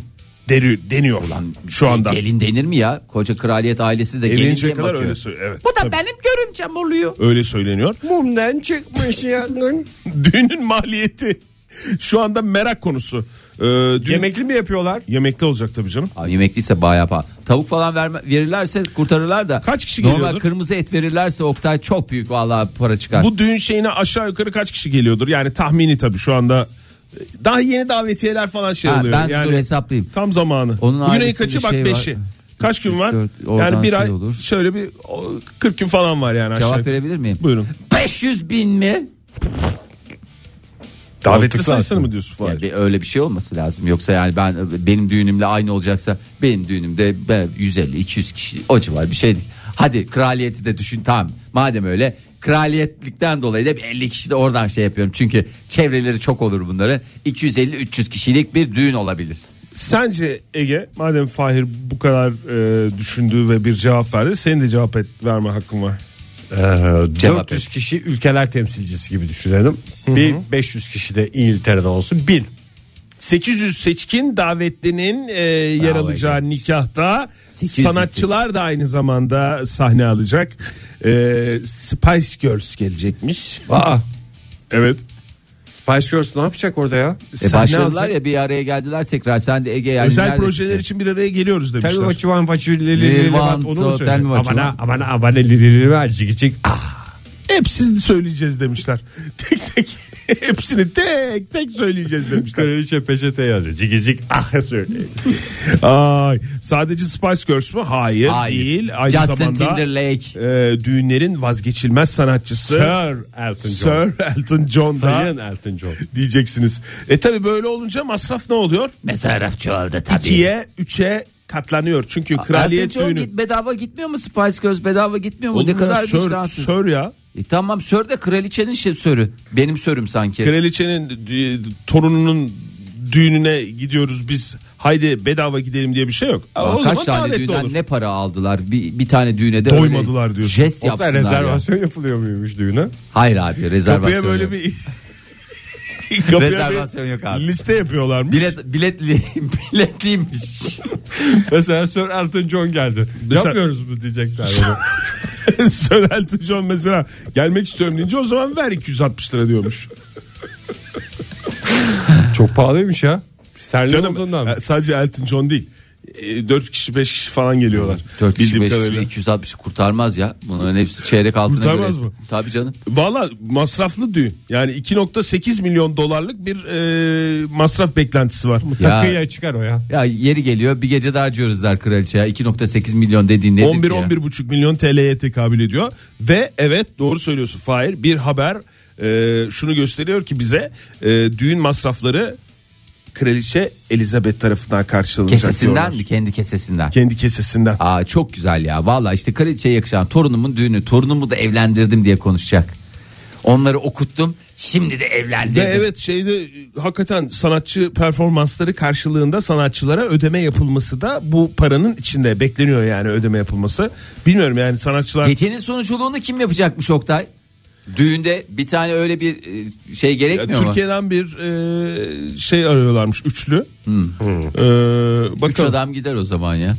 Speaker 5: deri, deniyor şu anda.
Speaker 4: E, Gelin denir mi ya? Koca kraliyet ailesi de gelin diye
Speaker 5: Evleninceye kadar
Speaker 4: bakıyor.
Speaker 5: öyle söylüyor. Evet.
Speaker 4: Bu da
Speaker 5: tabii.
Speaker 4: benim görümcem oluyor.
Speaker 5: Öyle söyleniyor. <laughs>
Speaker 3: Mumdan çıkmış yangın.
Speaker 5: Düğünün maliyeti şu anda merak konusu. Ee, düğün-
Speaker 3: <laughs> Yemekli mi yapıyorlar?
Speaker 5: Yemekli olacak tabii canım.
Speaker 4: Abi yemekliyse bayağı pahalı. Tavuk falan verme, verirlerse kurtarırlar da.
Speaker 5: Kaç kişi
Speaker 4: Normal
Speaker 5: geliyordur?
Speaker 4: kırmızı et verirlerse Oktay çok büyük vallahi para çıkar.
Speaker 5: Bu düğün şeyine aşağı yukarı kaç kişi geliyordur? Yani tahmini tabii şu anda. Ee, Daha yeni davetiyeler falan şey
Speaker 4: Ha,
Speaker 5: oluyor.
Speaker 4: ben
Speaker 5: yani
Speaker 4: dur hesaplayayım.
Speaker 5: Tam zamanı.
Speaker 4: Onun
Speaker 5: Bugün ayın
Speaker 4: ailesinde
Speaker 5: kaçı bak
Speaker 4: şey var.
Speaker 5: 5'i. Kaç gün var?
Speaker 4: Dört, oradan
Speaker 5: yani bir
Speaker 4: şey
Speaker 5: ay
Speaker 4: olur.
Speaker 5: şöyle bir o, 40 gün falan var yani aşağı.
Speaker 4: Cevap
Speaker 5: yukarı.
Speaker 4: verebilir miyim?
Speaker 5: Buyurun.
Speaker 4: 500 bin mi?
Speaker 5: Davetli sayısını
Speaker 3: aslında.
Speaker 5: mı diyorsun? Fahir?
Speaker 4: Ya bir- öyle bir şey olması lazım. Yoksa yani ben benim düğünümle aynı olacaksa benim düğünümde ben 150 200 kişi o civar bir şeydi. Hadi kraliyeti de düşün tamam. Madem öyle kraliyetlikten dolayı da bir 50 kişi de oradan şey yapıyorum. Çünkü çevreleri çok olur bunların. 250 300 kişilik bir düğün olabilir.
Speaker 5: Sence Ege madem Fahir bu kadar e, düşündü ve bir cevap verdi senin de cevap et, verme hakkın var.
Speaker 3: Ee,
Speaker 4: Cevap
Speaker 3: 400 kişi ülkeler temsilcisi gibi düşünelim. Bir 500 kişi de İngiltere'den olsun. 1000.
Speaker 5: 800 seçkin davetlinin e, yer
Speaker 4: Bravo
Speaker 5: alacağı
Speaker 4: Ege.
Speaker 5: nikahta
Speaker 4: 800
Speaker 5: sanatçılar da aynı zamanda sahne alacak. E, Spice Girls gelecekmiş.
Speaker 3: Aa,
Speaker 5: Evet.
Speaker 3: Spice Girls ne yapacak orada ya?
Speaker 4: E
Speaker 5: Sahne
Speaker 4: başladılar
Speaker 5: alacak.
Speaker 4: ya bir araya geldiler tekrar. Sen de Ege yani
Speaker 5: Özel
Speaker 4: nerede
Speaker 5: projeler
Speaker 4: çıkacaksın?
Speaker 5: için bir araya geliyoruz
Speaker 3: Tell me
Speaker 5: demişler.
Speaker 3: what you want, what you really,
Speaker 4: Lil
Speaker 3: really
Speaker 4: want,
Speaker 3: want. Onu mu
Speaker 4: so
Speaker 3: söyleyecek?
Speaker 4: tell me what you
Speaker 3: Amana,
Speaker 4: want.
Speaker 3: amana, amana, li, li, li, li, cik, cik. Ah,
Speaker 5: Hepsini söyleyeceğiz demişler. <laughs> Tek tek hepsini tek tek söyleyeceğiz demişler.
Speaker 3: Kraliçe peçete yazdı. Cik, cik, ah söyleyin.
Speaker 5: Ay, sadece Spice Girls mü? Hayır,
Speaker 4: Hayır.
Speaker 5: değil. Aynı
Speaker 4: Justin
Speaker 5: zamanda
Speaker 4: Timberlake.
Speaker 5: e, düğünlerin vazgeçilmez sanatçısı
Speaker 3: Sir Elton John.
Speaker 5: Sir Elton John da
Speaker 3: Sayın Elton John.
Speaker 5: diyeceksiniz. E tabi böyle olunca masraf ne oluyor?
Speaker 4: Mesaraf çoğaldı tabii.
Speaker 5: 2'ye 3'e katlanıyor. Çünkü
Speaker 4: Kraliyet
Speaker 5: kraliyet düğünü.
Speaker 4: düğünü. Bedava gitmiyor mu Spice Girls bedava gitmiyor mu?
Speaker 5: Olur
Speaker 4: ne
Speaker 5: mu
Speaker 4: kadar
Speaker 5: ya? sör,
Speaker 4: vicdansız.
Speaker 5: sör ya.
Speaker 4: E tamam sör de kraliçenin şey sörü. Benim sörüm sanki.
Speaker 5: Kraliçenin dü- torununun düğününe gidiyoruz biz. Haydi bedava gidelim diye bir şey yok. Ama
Speaker 4: Aa,
Speaker 5: o
Speaker 4: Kaç
Speaker 5: zaman
Speaker 4: tane
Speaker 5: davetli
Speaker 4: düğünden
Speaker 5: olur.
Speaker 4: ne para aldılar? Bir, bir tane düğüne de
Speaker 5: Doymadılar
Speaker 4: öyle
Speaker 5: diyorsun.
Speaker 4: Jest
Speaker 3: Orada
Speaker 4: yapsınlar ya.
Speaker 3: rezervasyon yapılıyor muymuş düğüne?
Speaker 4: Hayır abi rezervasyon.
Speaker 5: Kapıya böyle
Speaker 4: yok. <laughs>
Speaker 5: bir... Kapıya bir
Speaker 4: Rezervasyon yok abi.
Speaker 5: Liste yapıyorlarmış.
Speaker 4: Bilet, biletli, <laughs> biletliymiş.
Speaker 3: Mesela Sir Elton John geldi.
Speaker 5: Mesela-
Speaker 3: Yapmıyoruz mu diyecekler. bana.
Speaker 5: <laughs> Sir Elton John mesela gelmek istiyorum deyince o zaman ver 260 lira diyormuş.
Speaker 3: Çok pahalıymış ya. Serli
Speaker 5: Canım e, sadece Elton John değil. 4 kişi 5 kişi falan geliyorlar.
Speaker 4: 4 kişi
Speaker 5: Bildiğim
Speaker 4: 5 kişi
Speaker 5: kadarıyla.
Speaker 4: 260 kurtarmaz ya. Bunların hepsi çeyrek altına
Speaker 5: Kurtarmaz
Speaker 4: göre.
Speaker 5: mı?
Speaker 4: Tabii canım.
Speaker 5: Valla masraflı düğün. Yani 2.8 milyon dolarlık bir e, masraf beklentisi var.
Speaker 3: Takıya çıkar o ya.
Speaker 4: Ya yeri geliyor bir gece de harcıyoruz der kraliçe ya. 2.8 milyon dediğin nedir ki ya?
Speaker 5: 11-11,5 milyon TL'ye tekabül ediyor. Ve evet doğru söylüyorsun Fahir. Bir haber e, şunu gösteriyor ki bize e, düğün masrafları Kraliçe Elizabeth tarafından karşılanacak diyorlar.
Speaker 4: Kesesinden mi? Kendi kesesinden.
Speaker 5: Kendi kesesinden.
Speaker 4: Aa çok güzel ya. Valla işte kraliçeye yakışan torunumun düğünü. Torunumu da evlendirdim diye konuşacak. Onları okuttum. Şimdi de evlendirdim.
Speaker 5: Ve evet şeyde e, hakikaten sanatçı performansları karşılığında sanatçılara ödeme yapılması da bu paranın içinde bekleniyor yani ödeme yapılması. Bilmiyorum yani sanatçılar
Speaker 4: Gecenin sonuculuğunu kim yapacakmış Oktay? Düğünde bir tane öyle bir e, şey
Speaker 5: Ya,
Speaker 4: gerekmiyor mu?
Speaker 5: Türkiye'den bir e, şey arıyorlarmış üçlü.
Speaker 4: Hmm.
Speaker 5: Ee,
Speaker 4: Üç
Speaker 5: bakalım.
Speaker 4: adam gider o zaman ya.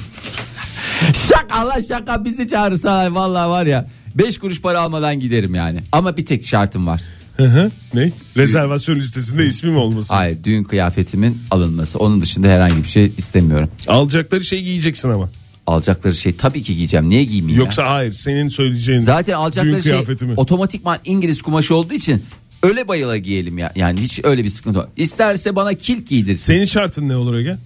Speaker 4: <laughs> şaka Allah şaka bizi çağırırsa vallahi var ya. Beş kuruş para almadan giderim yani. Ama bir tek şartım var.
Speaker 5: Hı hı. Ne? Rezervasyon listesinde ismim olmasın.
Speaker 4: Hayır düğün kıyafetimin alınması. Onun dışında herhangi bir şey istemiyorum.
Speaker 5: Alacakları şey giyeceksin ama.
Speaker 4: Alacakları şey tabii ki giyeceğim. Niye giymeyeyim ya?
Speaker 5: Yoksa hayır senin söyleyeceğin. düğün
Speaker 4: Zaten alacakları şey
Speaker 5: kıyafeti mi?
Speaker 4: otomatikman İngiliz kumaşı olduğu için öyle bayıla giyelim ya. Yani hiç öyle bir sıkıntı yok. İsterse bana kilt giydirsin.
Speaker 5: Senin şartın ne olur Ege?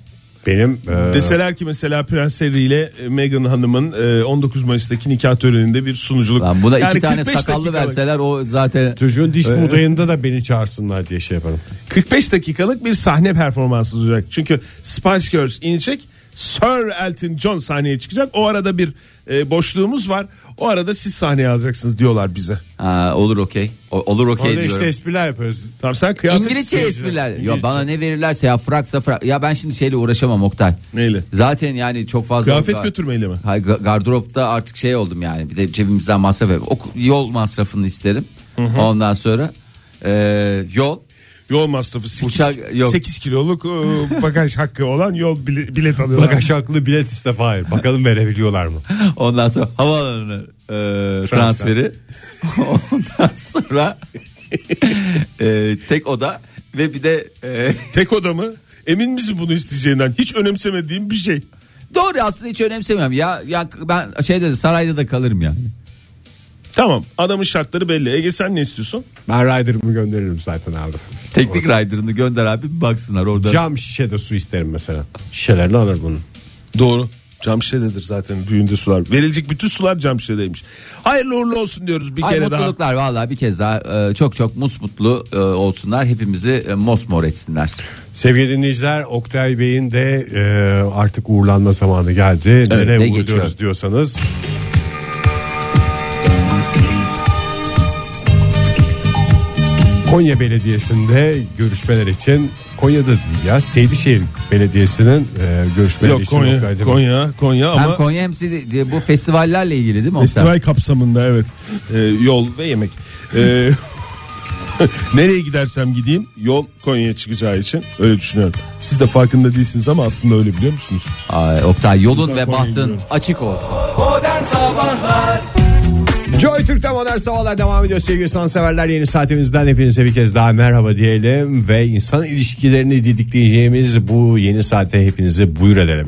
Speaker 3: Benim e,
Speaker 5: Deseler ki mesela Prens Harry ile Meghan Hanım'ın e, 19 Mayıs'taki nikah töreninde bir sunuculuk.
Speaker 4: Lan buna
Speaker 5: Yani
Speaker 4: iki tane
Speaker 5: 45
Speaker 4: sakallı
Speaker 5: dakikalık-
Speaker 4: verseler o zaten
Speaker 3: çocuğun diş buğdayında da beni çağırsınlar diye şey yaparım.
Speaker 5: 45 dakikalık bir sahne performansı olacak. Çünkü Spice Girls inecek. Sir Elton John sahneye çıkacak. O arada bir e, boşluğumuz var. O arada siz sahneye alacaksınız diyorlar bize.
Speaker 4: Aa, olur okey. O- Olur okey
Speaker 3: Orada
Speaker 4: diyorum.
Speaker 3: işte espriler yaparız.
Speaker 5: Tamam sen kıyafet
Speaker 4: İngilizce
Speaker 5: isteyeceksin.
Speaker 4: espriler. Ya
Speaker 5: şey İngilizce.
Speaker 4: bana ne verirlerse ya fraksa frak. Ya ben şimdi şeyle uğraşamam Oktay.
Speaker 5: Neyle?
Speaker 4: Zaten yani çok fazla
Speaker 5: Kıyafet
Speaker 4: Gar-
Speaker 5: götürmeyle mi?
Speaker 4: Hayır, ga- gardıropta artık şey oldum yani. Bir de cebimizden masraf yap. Ok- yol masrafını isterim. Ondan sonra e, yol
Speaker 5: Yol masrafı 8,
Speaker 4: Uçak- yok.
Speaker 5: 8 kiloluk e, bagaj hakkı olan yol bile- bilet alıyorlar.
Speaker 3: Bagaj haklı bilet işte Fahir. Bakalım verebiliyorlar mı?
Speaker 4: Ondan sonra havaalanı e, transferi. <laughs> Ondan sonra e, tek oda ve bir de e,
Speaker 5: Tek oda mı? Emin misin bunu isteyeceğinden? Hiç önemsemediğim bir şey.
Speaker 4: doğru aslında hiç önemsemiyorum. Ya ya ben şeyde de sarayda da kalırım yani.
Speaker 5: Tamam adamın şartları belli. Ege sen ne istiyorsun?
Speaker 3: Ben rider'ımı gönderirim zaten abi.
Speaker 4: Teknik rider'ını gönder abi bir baksınlar orada.
Speaker 3: Cam şişede su isterim mesela. Şişelerini alır bunun.
Speaker 5: Doğru. Cam şişededir zaten düğünde sular. Verilecek bütün sular cam şişedeymiş. Hayırlı uğurlu olsun diyoruz bir
Speaker 4: Ay
Speaker 5: kere daha.
Speaker 4: mutluluklar vallahi bir kez daha e, çok çok musmutlu e, olsunlar. Hepimizi e, mosmor etsinler.
Speaker 3: Sevgili dinleyiciler Oktay Bey'in de e, artık uğurlanma zamanı geldi. Nereye
Speaker 4: de
Speaker 3: uğurluyoruz
Speaker 4: geçiyor.
Speaker 3: diyorsanız. Konya Belediyesi'nde görüşmeler için Konya'da değil ya Seydişehir Belediyesi'nin e, görüşmeleri
Speaker 5: Yok
Speaker 3: için Oktay
Speaker 5: Konya,
Speaker 3: Demir-
Speaker 5: Konya, Konya ama
Speaker 4: hem Konya hem Sidi- diye bu festivallerle ilgili değil mi? Oktay?
Speaker 5: festival kapsamında evet. Ee, yol ve yemek. Ee, <laughs> nereye gidersem gideyim yol Konya'ya çıkacağı için öyle düşünüyorum. Siz de farkında değilsiniz ama aslında öyle biliyor musunuz?
Speaker 4: Ay, Oktay yolun ve
Speaker 5: Konya'ya
Speaker 4: bahtın
Speaker 5: gidiyorum.
Speaker 4: açık olsun.
Speaker 2: Modern Sabahlar
Speaker 3: Joy Türk'te modern sabahlar devam ediyor sevgili sanatseverler. Yeni saatimizden hepinize bir kez daha merhaba diyelim ve insan ilişkilerini didikleyeceğimiz bu yeni saate hepinizi buyur edelim.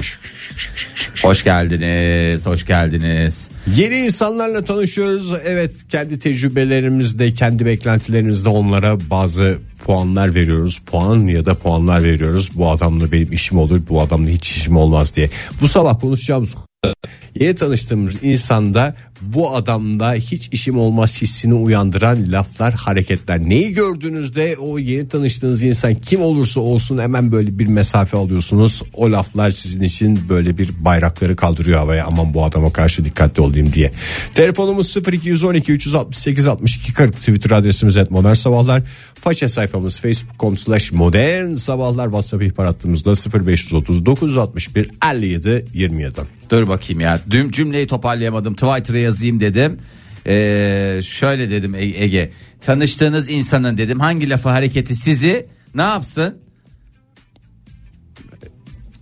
Speaker 4: Hoş geldiniz, hoş geldiniz.
Speaker 3: Yeni insanlarla tanışıyoruz. Evet kendi tecrübelerimizde, kendi beklentilerimizde onlara bazı puanlar veriyoruz. Puan ya da puanlar veriyoruz. Bu adamla benim işim olur, bu adamla hiç işim olmaz diye. Bu sabah konuşacağımız konu, yeni tanıştığımız insanda bu adamda hiç işim olmaz hissini uyandıran laflar, hareketler. Neyi gördüğünüzde o yeni tanıştığınız insan kim olursa olsun hemen böyle bir mesafe alıyorsunuz. O laflar sizin için böyle bir bayrakları kaldırıyor havaya. Aman bu adama karşı dikkatli olayım diye. Telefonumuz 0212 368 62 40 Twitter adresimiz et modern sabahlar. Faça sayfamız facebook.com slash modern sabahlar. WhatsApp ihbar hattımızda 0530 961 57 27.
Speaker 4: Dur bakayım ya. Dün cümleyi toparlayamadım. Twitter'a yazayım dedim. Ee, şöyle dedim E- Ege. Tanıştığınız insanın dedim hangi lafı hareketi sizi ne yapsın?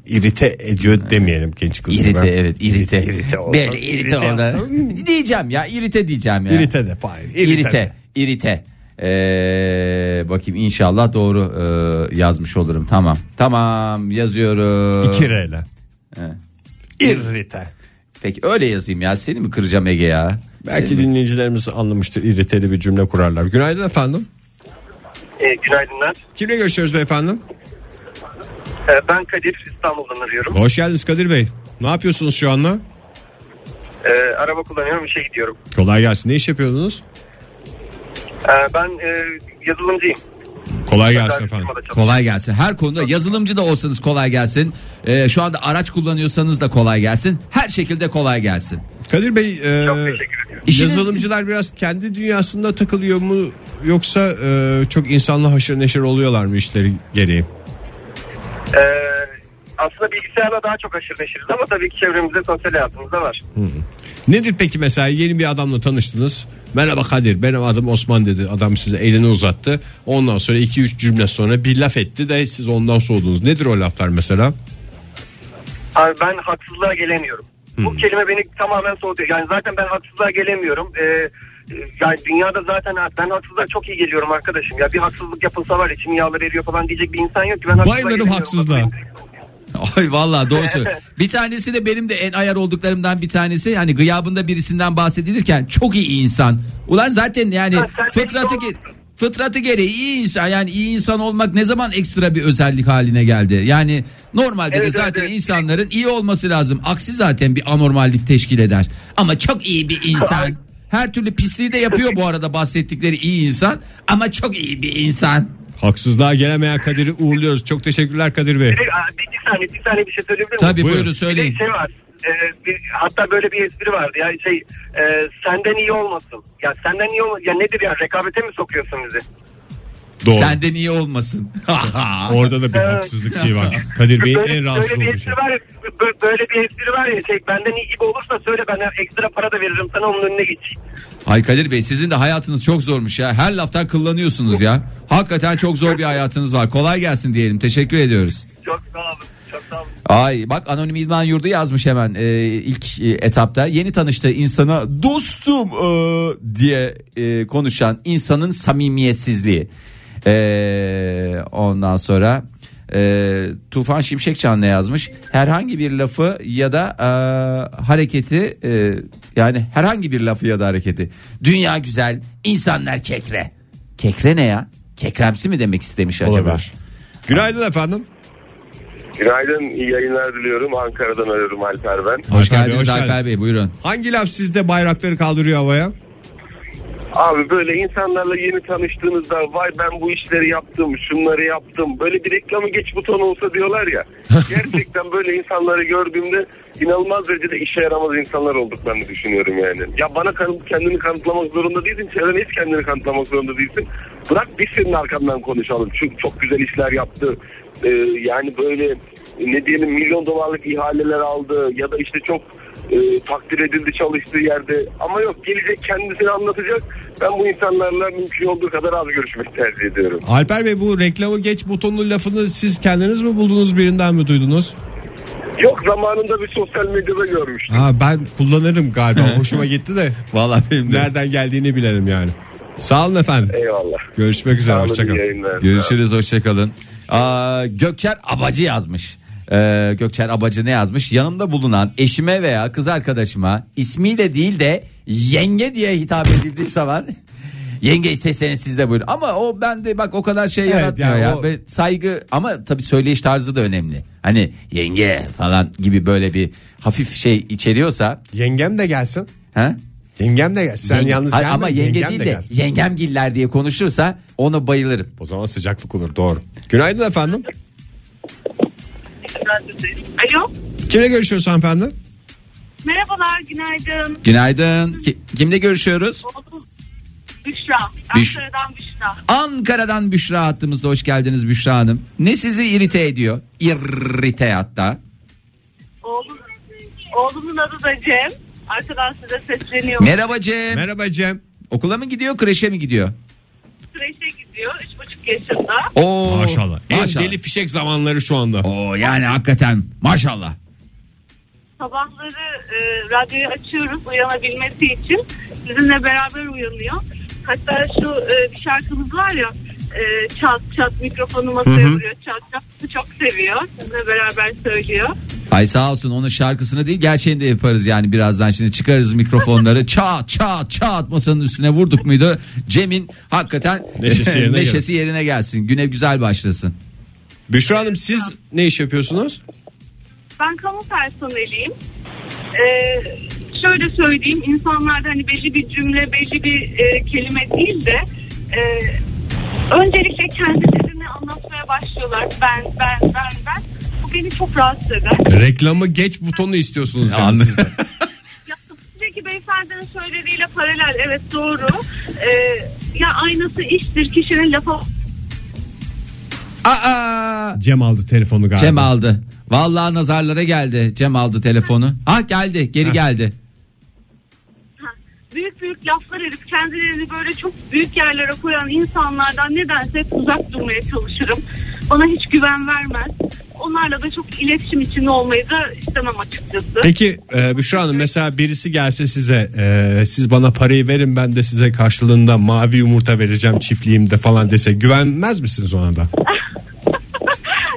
Speaker 3: İrite ediyor demeyelim genç kızım.
Speaker 4: İrite evet irite.
Speaker 3: irite oldu.
Speaker 4: Böyle irite,
Speaker 3: İrite
Speaker 4: oldu. <laughs> diyeceğim ya irite diyeceğim ya.
Speaker 3: İrite de Fahir.
Speaker 4: İrite.
Speaker 3: İrite. de.
Speaker 4: irite. Ee, bakayım inşallah doğru e, yazmış olurum. Tamam. Tamam yazıyorum.
Speaker 3: İki R'yle. İrite.
Speaker 4: Peki öyle yazayım ya. Seni mi kıracağım Ege ya?
Speaker 3: Belki dinleyicilerimiz anlamıştır. İriteli bir cümle kurarlar. Günaydın efendim.
Speaker 6: <laughs> E, günaydınlar.
Speaker 3: Kimle görüşüyoruz beyefendi?
Speaker 6: E, ben Kadir İstanbul'dan arıyorum.
Speaker 3: Hoş geldiniz Kadir Bey. Ne yapıyorsunuz şu anda?
Speaker 6: E, araba kullanıyorum işe gidiyorum.
Speaker 3: Kolay gelsin. Ne iş yapıyordunuz?
Speaker 6: E, ben e, yazılımcıyım.
Speaker 3: Kolay
Speaker 6: Ben
Speaker 3: gelsin efendim.
Speaker 6: firmada çalışıyorum.
Speaker 4: Kolay gelsin. Her konuda yazılımcı da olsanız kolay gelsin. Ee, şu anda araç kullanıyorsanız da kolay gelsin. Her şekilde kolay gelsin.
Speaker 3: Kadir Bey, e,
Speaker 6: Çok teşekkür ediyorum.
Speaker 4: İşiniz-
Speaker 3: yazılımcılar biraz kendi dünyasında takılıyor mu yoksa e, çok insanla haşır neşir oluyorlar mı işleri gereği?
Speaker 6: E, aslında bilgisayarla daha çok aşırı neşiriz ama tabii ki çevremizde sosyal hayatımızda var.
Speaker 3: Nedir peki mesela yeni bir adamla tanıştınız. Merhaba Kadir benim adım Osman dedi. Adam size elini uzattı. Ondan sonra 2-3 cümle sonra bir laf etti de siz ondan soğudunuz. Nedir o laflar mesela?
Speaker 6: Abi ben
Speaker 3: Hmm.
Speaker 6: haksızlığa gelemiyorum. Bu kelime beni tamamen soğutuyor. Yani zaten ben haksızlığa gelemiyorum. E, e, yani dünyada zaten ha- ben haksızlığa çok iyi geliyorum arkadaşım. Ya bir haksızlık yapılsa var içim yağları eriyor falan diyecek bir insan yok ki. Ben haksızlığa
Speaker 7: Bayılırım
Speaker 6: gelemiyorum.
Speaker 7: haksızlığa.
Speaker 4: <laughs> Ay vallahi doğru söylüyor. Bir tanesi de benim de en ayar olduklarımdan bir tanesi. Yani gıyabında birisinden bahsedilirken çok iyi insan. Ulan zaten yani
Speaker 6: Ha, sen
Speaker 4: fıtratı
Speaker 6: de-
Speaker 4: ge- fıtratı gereği iyi insan. Yani iyi insan olmak ne zaman ekstra bir özellik haline geldi? Yani normalde
Speaker 6: Evet,
Speaker 4: de
Speaker 6: evet,
Speaker 4: zaten
Speaker 6: evet.
Speaker 4: insanların iyi olması lazım. Aksi zaten bir anormallik teşkil eder. Ama çok iyi bir insan. Her türlü pisliği de yapıyor bu arada bahsettikleri iyi insan. Ama çok iyi bir insan.
Speaker 3: Haksızlığa gelemeyen Kadir'i uğurluyoruz. Çok teşekkürler Kadir Bey.
Speaker 6: Bir, aa, bir, bir saniye bir saniye bir şey söyleyebilir miyim?
Speaker 4: Tabii
Speaker 3: Buyurun.
Speaker 4: buyurun
Speaker 6: Bir de
Speaker 4: söyleyin.
Speaker 6: şey var. e, bir- hatta böyle bir espri vardı. Ya şey e, senden iyi olmasın. Ya senden iyi olmasın. Ya nedir ya rekabete mi sokuyorsun bizi?
Speaker 3: Doğru.
Speaker 4: Senden iyi olmasın. <laughs>
Speaker 3: Orada da bir
Speaker 6: Evet.
Speaker 3: haksızlık şeyi var. Kadir Bey'in
Speaker 6: Böyle,
Speaker 3: en rahatsız
Speaker 6: böyle bir
Speaker 3: olduğu şey.
Speaker 6: espri var ya, bö- böyle bir espri var ya şey benden iyi gibi olursa söyle ben ekstra para da veririm sana onun önüne geç.
Speaker 4: Ay Kadir Bey sizin de hayatınız çok zormuş ya. Her laftan kullanıyorsunuz ya. Hakikaten çok zor bir hayatınız var. Kolay gelsin diyelim. Teşekkür ediyoruz.
Speaker 6: Çok sağ olun. Çok sağ olun.
Speaker 4: Ay bak anonim idman yurdu yazmış hemen e, ilk e, etapta. Yeni tanıştığı insana dostum e, diye e, konuşan insanın samimiyetsizliği. E, ondan sonra e, Tufan Şimşekçan ne yazmış? Herhangi bir lafı ya da e, hareketi e, yani herhangi bir lafı ya da hareketi. Dünya güzel, insanlar kekre. Kekre ne ya? Kekremsi mi demek istemiş acaba?
Speaker 3: Olabilir. Günaydın efendim.
Speaker 6: Günaydın, iyi yayınlar diliyorum. Ankara'dan arıyorum Alper ben.
Speaker 4: Hoş
Speaker 3: Alper Bey,
Speaker 4: geldiniz
Speaker 3: hoş
Speaker 4: Alper
Speaker 3: geldin.
Speaker 4: Bey buyurun.
Speaker 3: Hangi laf sizde bayrakları kaldırıyor havaya?
Speaker 6: Abi böyle insanlarla yeni tanıştığınızda vay ben bu işleri yaptım, şunları yaptım. Böyle bir reklamı geç buton olsa diyorlar ya. Gerçekten böyle insanları gördüğümde inanılmaz derecede işe yaramaz insanlar olduklarını düşünüyorum yani. Ya bana kanıt, kendini kanıtlamak zorunda değilsin. Çevrene hiç kendini kanıtlamak zorunda değilsin. Bırak biz senin arkandan konuşalım. Çünkü çok güzel işler yaptı. Ee, yani böyle E, ne diyelim milyon dolarlık ihaleler aldı ya da işte çok e, takdir edildi çalıştığı yerde. Ama yok gelecek kendisini anlatacak. Ben bu insanlarla mümkün olduğu kadar az görüşmek tercih ediyorum.
Speaker 3: Alper Bey bu reklamı geç butonlu lafını siz kendiniz mi buldunuz birinden mi duydunuz?
Speaker 6: Yok zamanında bir sosyal medyada görmüştüm.
Speaker 3: Ha, ben kullanırım galiba hoşuma gitti <laughs> de
Speaker 4: Vallahi benim de.
Speaker 3: nereden geldiğini bilerim yani. Sağ olun efendim.
Speaker 6: Eyvallah.
Speaker 3: Görüşmek üzere
Speaker 6: Sağ olun, iyi
Speaker 3: hoşçakalın.
Speaker 6: yayınlar.
Speaker 4: Görüşürüz hoşçakalın. Aa, Gökçer Abacı yazmış. Ee, Gökçer Abacı ne yazmış? Yanımda bulunan eşime veya kız arkadaşıma ismiyle değil de yenge diye hitap edildiği zaman <laughs> yenge isterseniz siz de buyurun. Ama o bende bak o kadar şey
Speaker 3: Evet,
Speaker 4: yaratmıyor
Speaker 3: yani
Speaker 4: ya.
Speaker 3: o-
Speaker 4: Ve saygı ama tabii söyleyiş tarzı da önemli. Hani yenge falan gibi böyle bir hafif şey içeriyorsa.
Speaker 3: Yengem de gelsin.
Speaker 4: He?
Speaker 3: Yengem de gelsin. Sen
Speaker 4: Yenge-
Speaker 3: yalnız
Speaker 4: Hayır,
Speaker 3: gelme,
Speaker 4: ama yenge
Speaker 3: yengem
Speaker 4: değil
Speaker 3: de
Speaker 4: de
Speaker 3: gelsin.
Speaker 4: yengemgiller diye konuşursa ona bayılırım.
Speaker 3: O zaman sıcaklık olur doğru. Günaydın efendim.
Speaker 8: Alo.
Speaker 3: Kimle görüşüyoruz hanımefendi?
Speaker 8: Merhabalar, günaydın.
Speaker 4: Günaydın. Ki- kimle görüşüyoruz?
Speaker 8: Oğlum, Büşra.
Speaker 4: Büş-
Speaker 8: Ankara'dan Büşra.
Speaker 4: Ankara'dan Büşra hattımızda hoş geldiniz Büşra Hanım. Ne sizi irite ediyor? İrrite hatta.
Speaker 8: Oğlum, oğlumun adı da Cem. Arkadan size sesleniyorum.
Speaker 4: Merhaba Cem.
Speaker 3: Merhaba Cem.
Speaker 4: Okula mı gidiyor, kreşe mi gidiyor?
Speaker 8: Süreçte gidiyor. Üç buçuk yaşında.
Speaker 4: Oo.
Speaker 3: Maşallah. En
Speaker 4: Maşallah.
Speaker 3: deli fişek zamanları şu anda.
Speaker 4: Oo, yani hakikaten maşallah.
Speaker 8: Sabahları e, radyoyu açıyoruz uyanabilmesi için. Sizinle beraber uyanıyor. Hatta şu e, bir şarkımız var ya. E, çat çat mikrofonu masaya vuruyor. Çat çat. Bu Çok seviyor. Sizinle beraber söylüyor.
Speaker 4: Ay sağ olsun onun şarkısını değil gerçeğini de yaparız yani birazdan şimdi çıkarız
Speaker 3: <laughs>
Speaker 4: mikrofonları çat çat çat masanın üstüne vurduk muydu Cem'in hakikaten
Speaker 3: Neşesi yerine
Speaker 4: <laughs>
Speaker 3: gelsin.
Speaker 4: neşesi yerine gelsin güne güzel başlasın.
Speaker 3: Büşra Hanım siz ne iş yapıyorsunuz?
Speaker 8: Ben kamu personeliyim. Ee, şöyle söyleyeyim insanlarda hani belli bir cümle belli bir e, kelime değil de e, öncelikle kendilerini anlatmaya başlıyorlar. Ben ben ben ben. Bu beni çok rahatsız eder.
Speaker 3: Reklamı geç butonu istiyorsunuz. yani
Speaker 4: Anladım.
Speaker 3: sizden.
Speaker 8: Ya, önceki beyefendinin söylediğiyle paralel evet doğru. Ee, ya aynası iştir kişinin lafa
Speaker 4: Aa!
Speaker 3: Cem aldı telefonu galiba.
Speaker 4: Cem aldı. Vallahi nazarlara geldi. Cem aldı telefonu. Ha geldi, geri geldi.
Speaker 8: Ha, büyük büyük laflar edip kendilerini böyle çok büyük yerlere koyan insanlardan nedense hep uzak durmaya çalışırım. Bana hiç güven vermez. Onlarla da çok iletişim içinde olmayı da istemem açıkçası. <laughs>
Speaker 3: Peki e, Büşra Hanım mesela birisi gelse size e, siz bana parayı verin ben de size karşılığında mavi yumurta vereceğim çiftliğimde falan dese güvenmez misiniz ona da?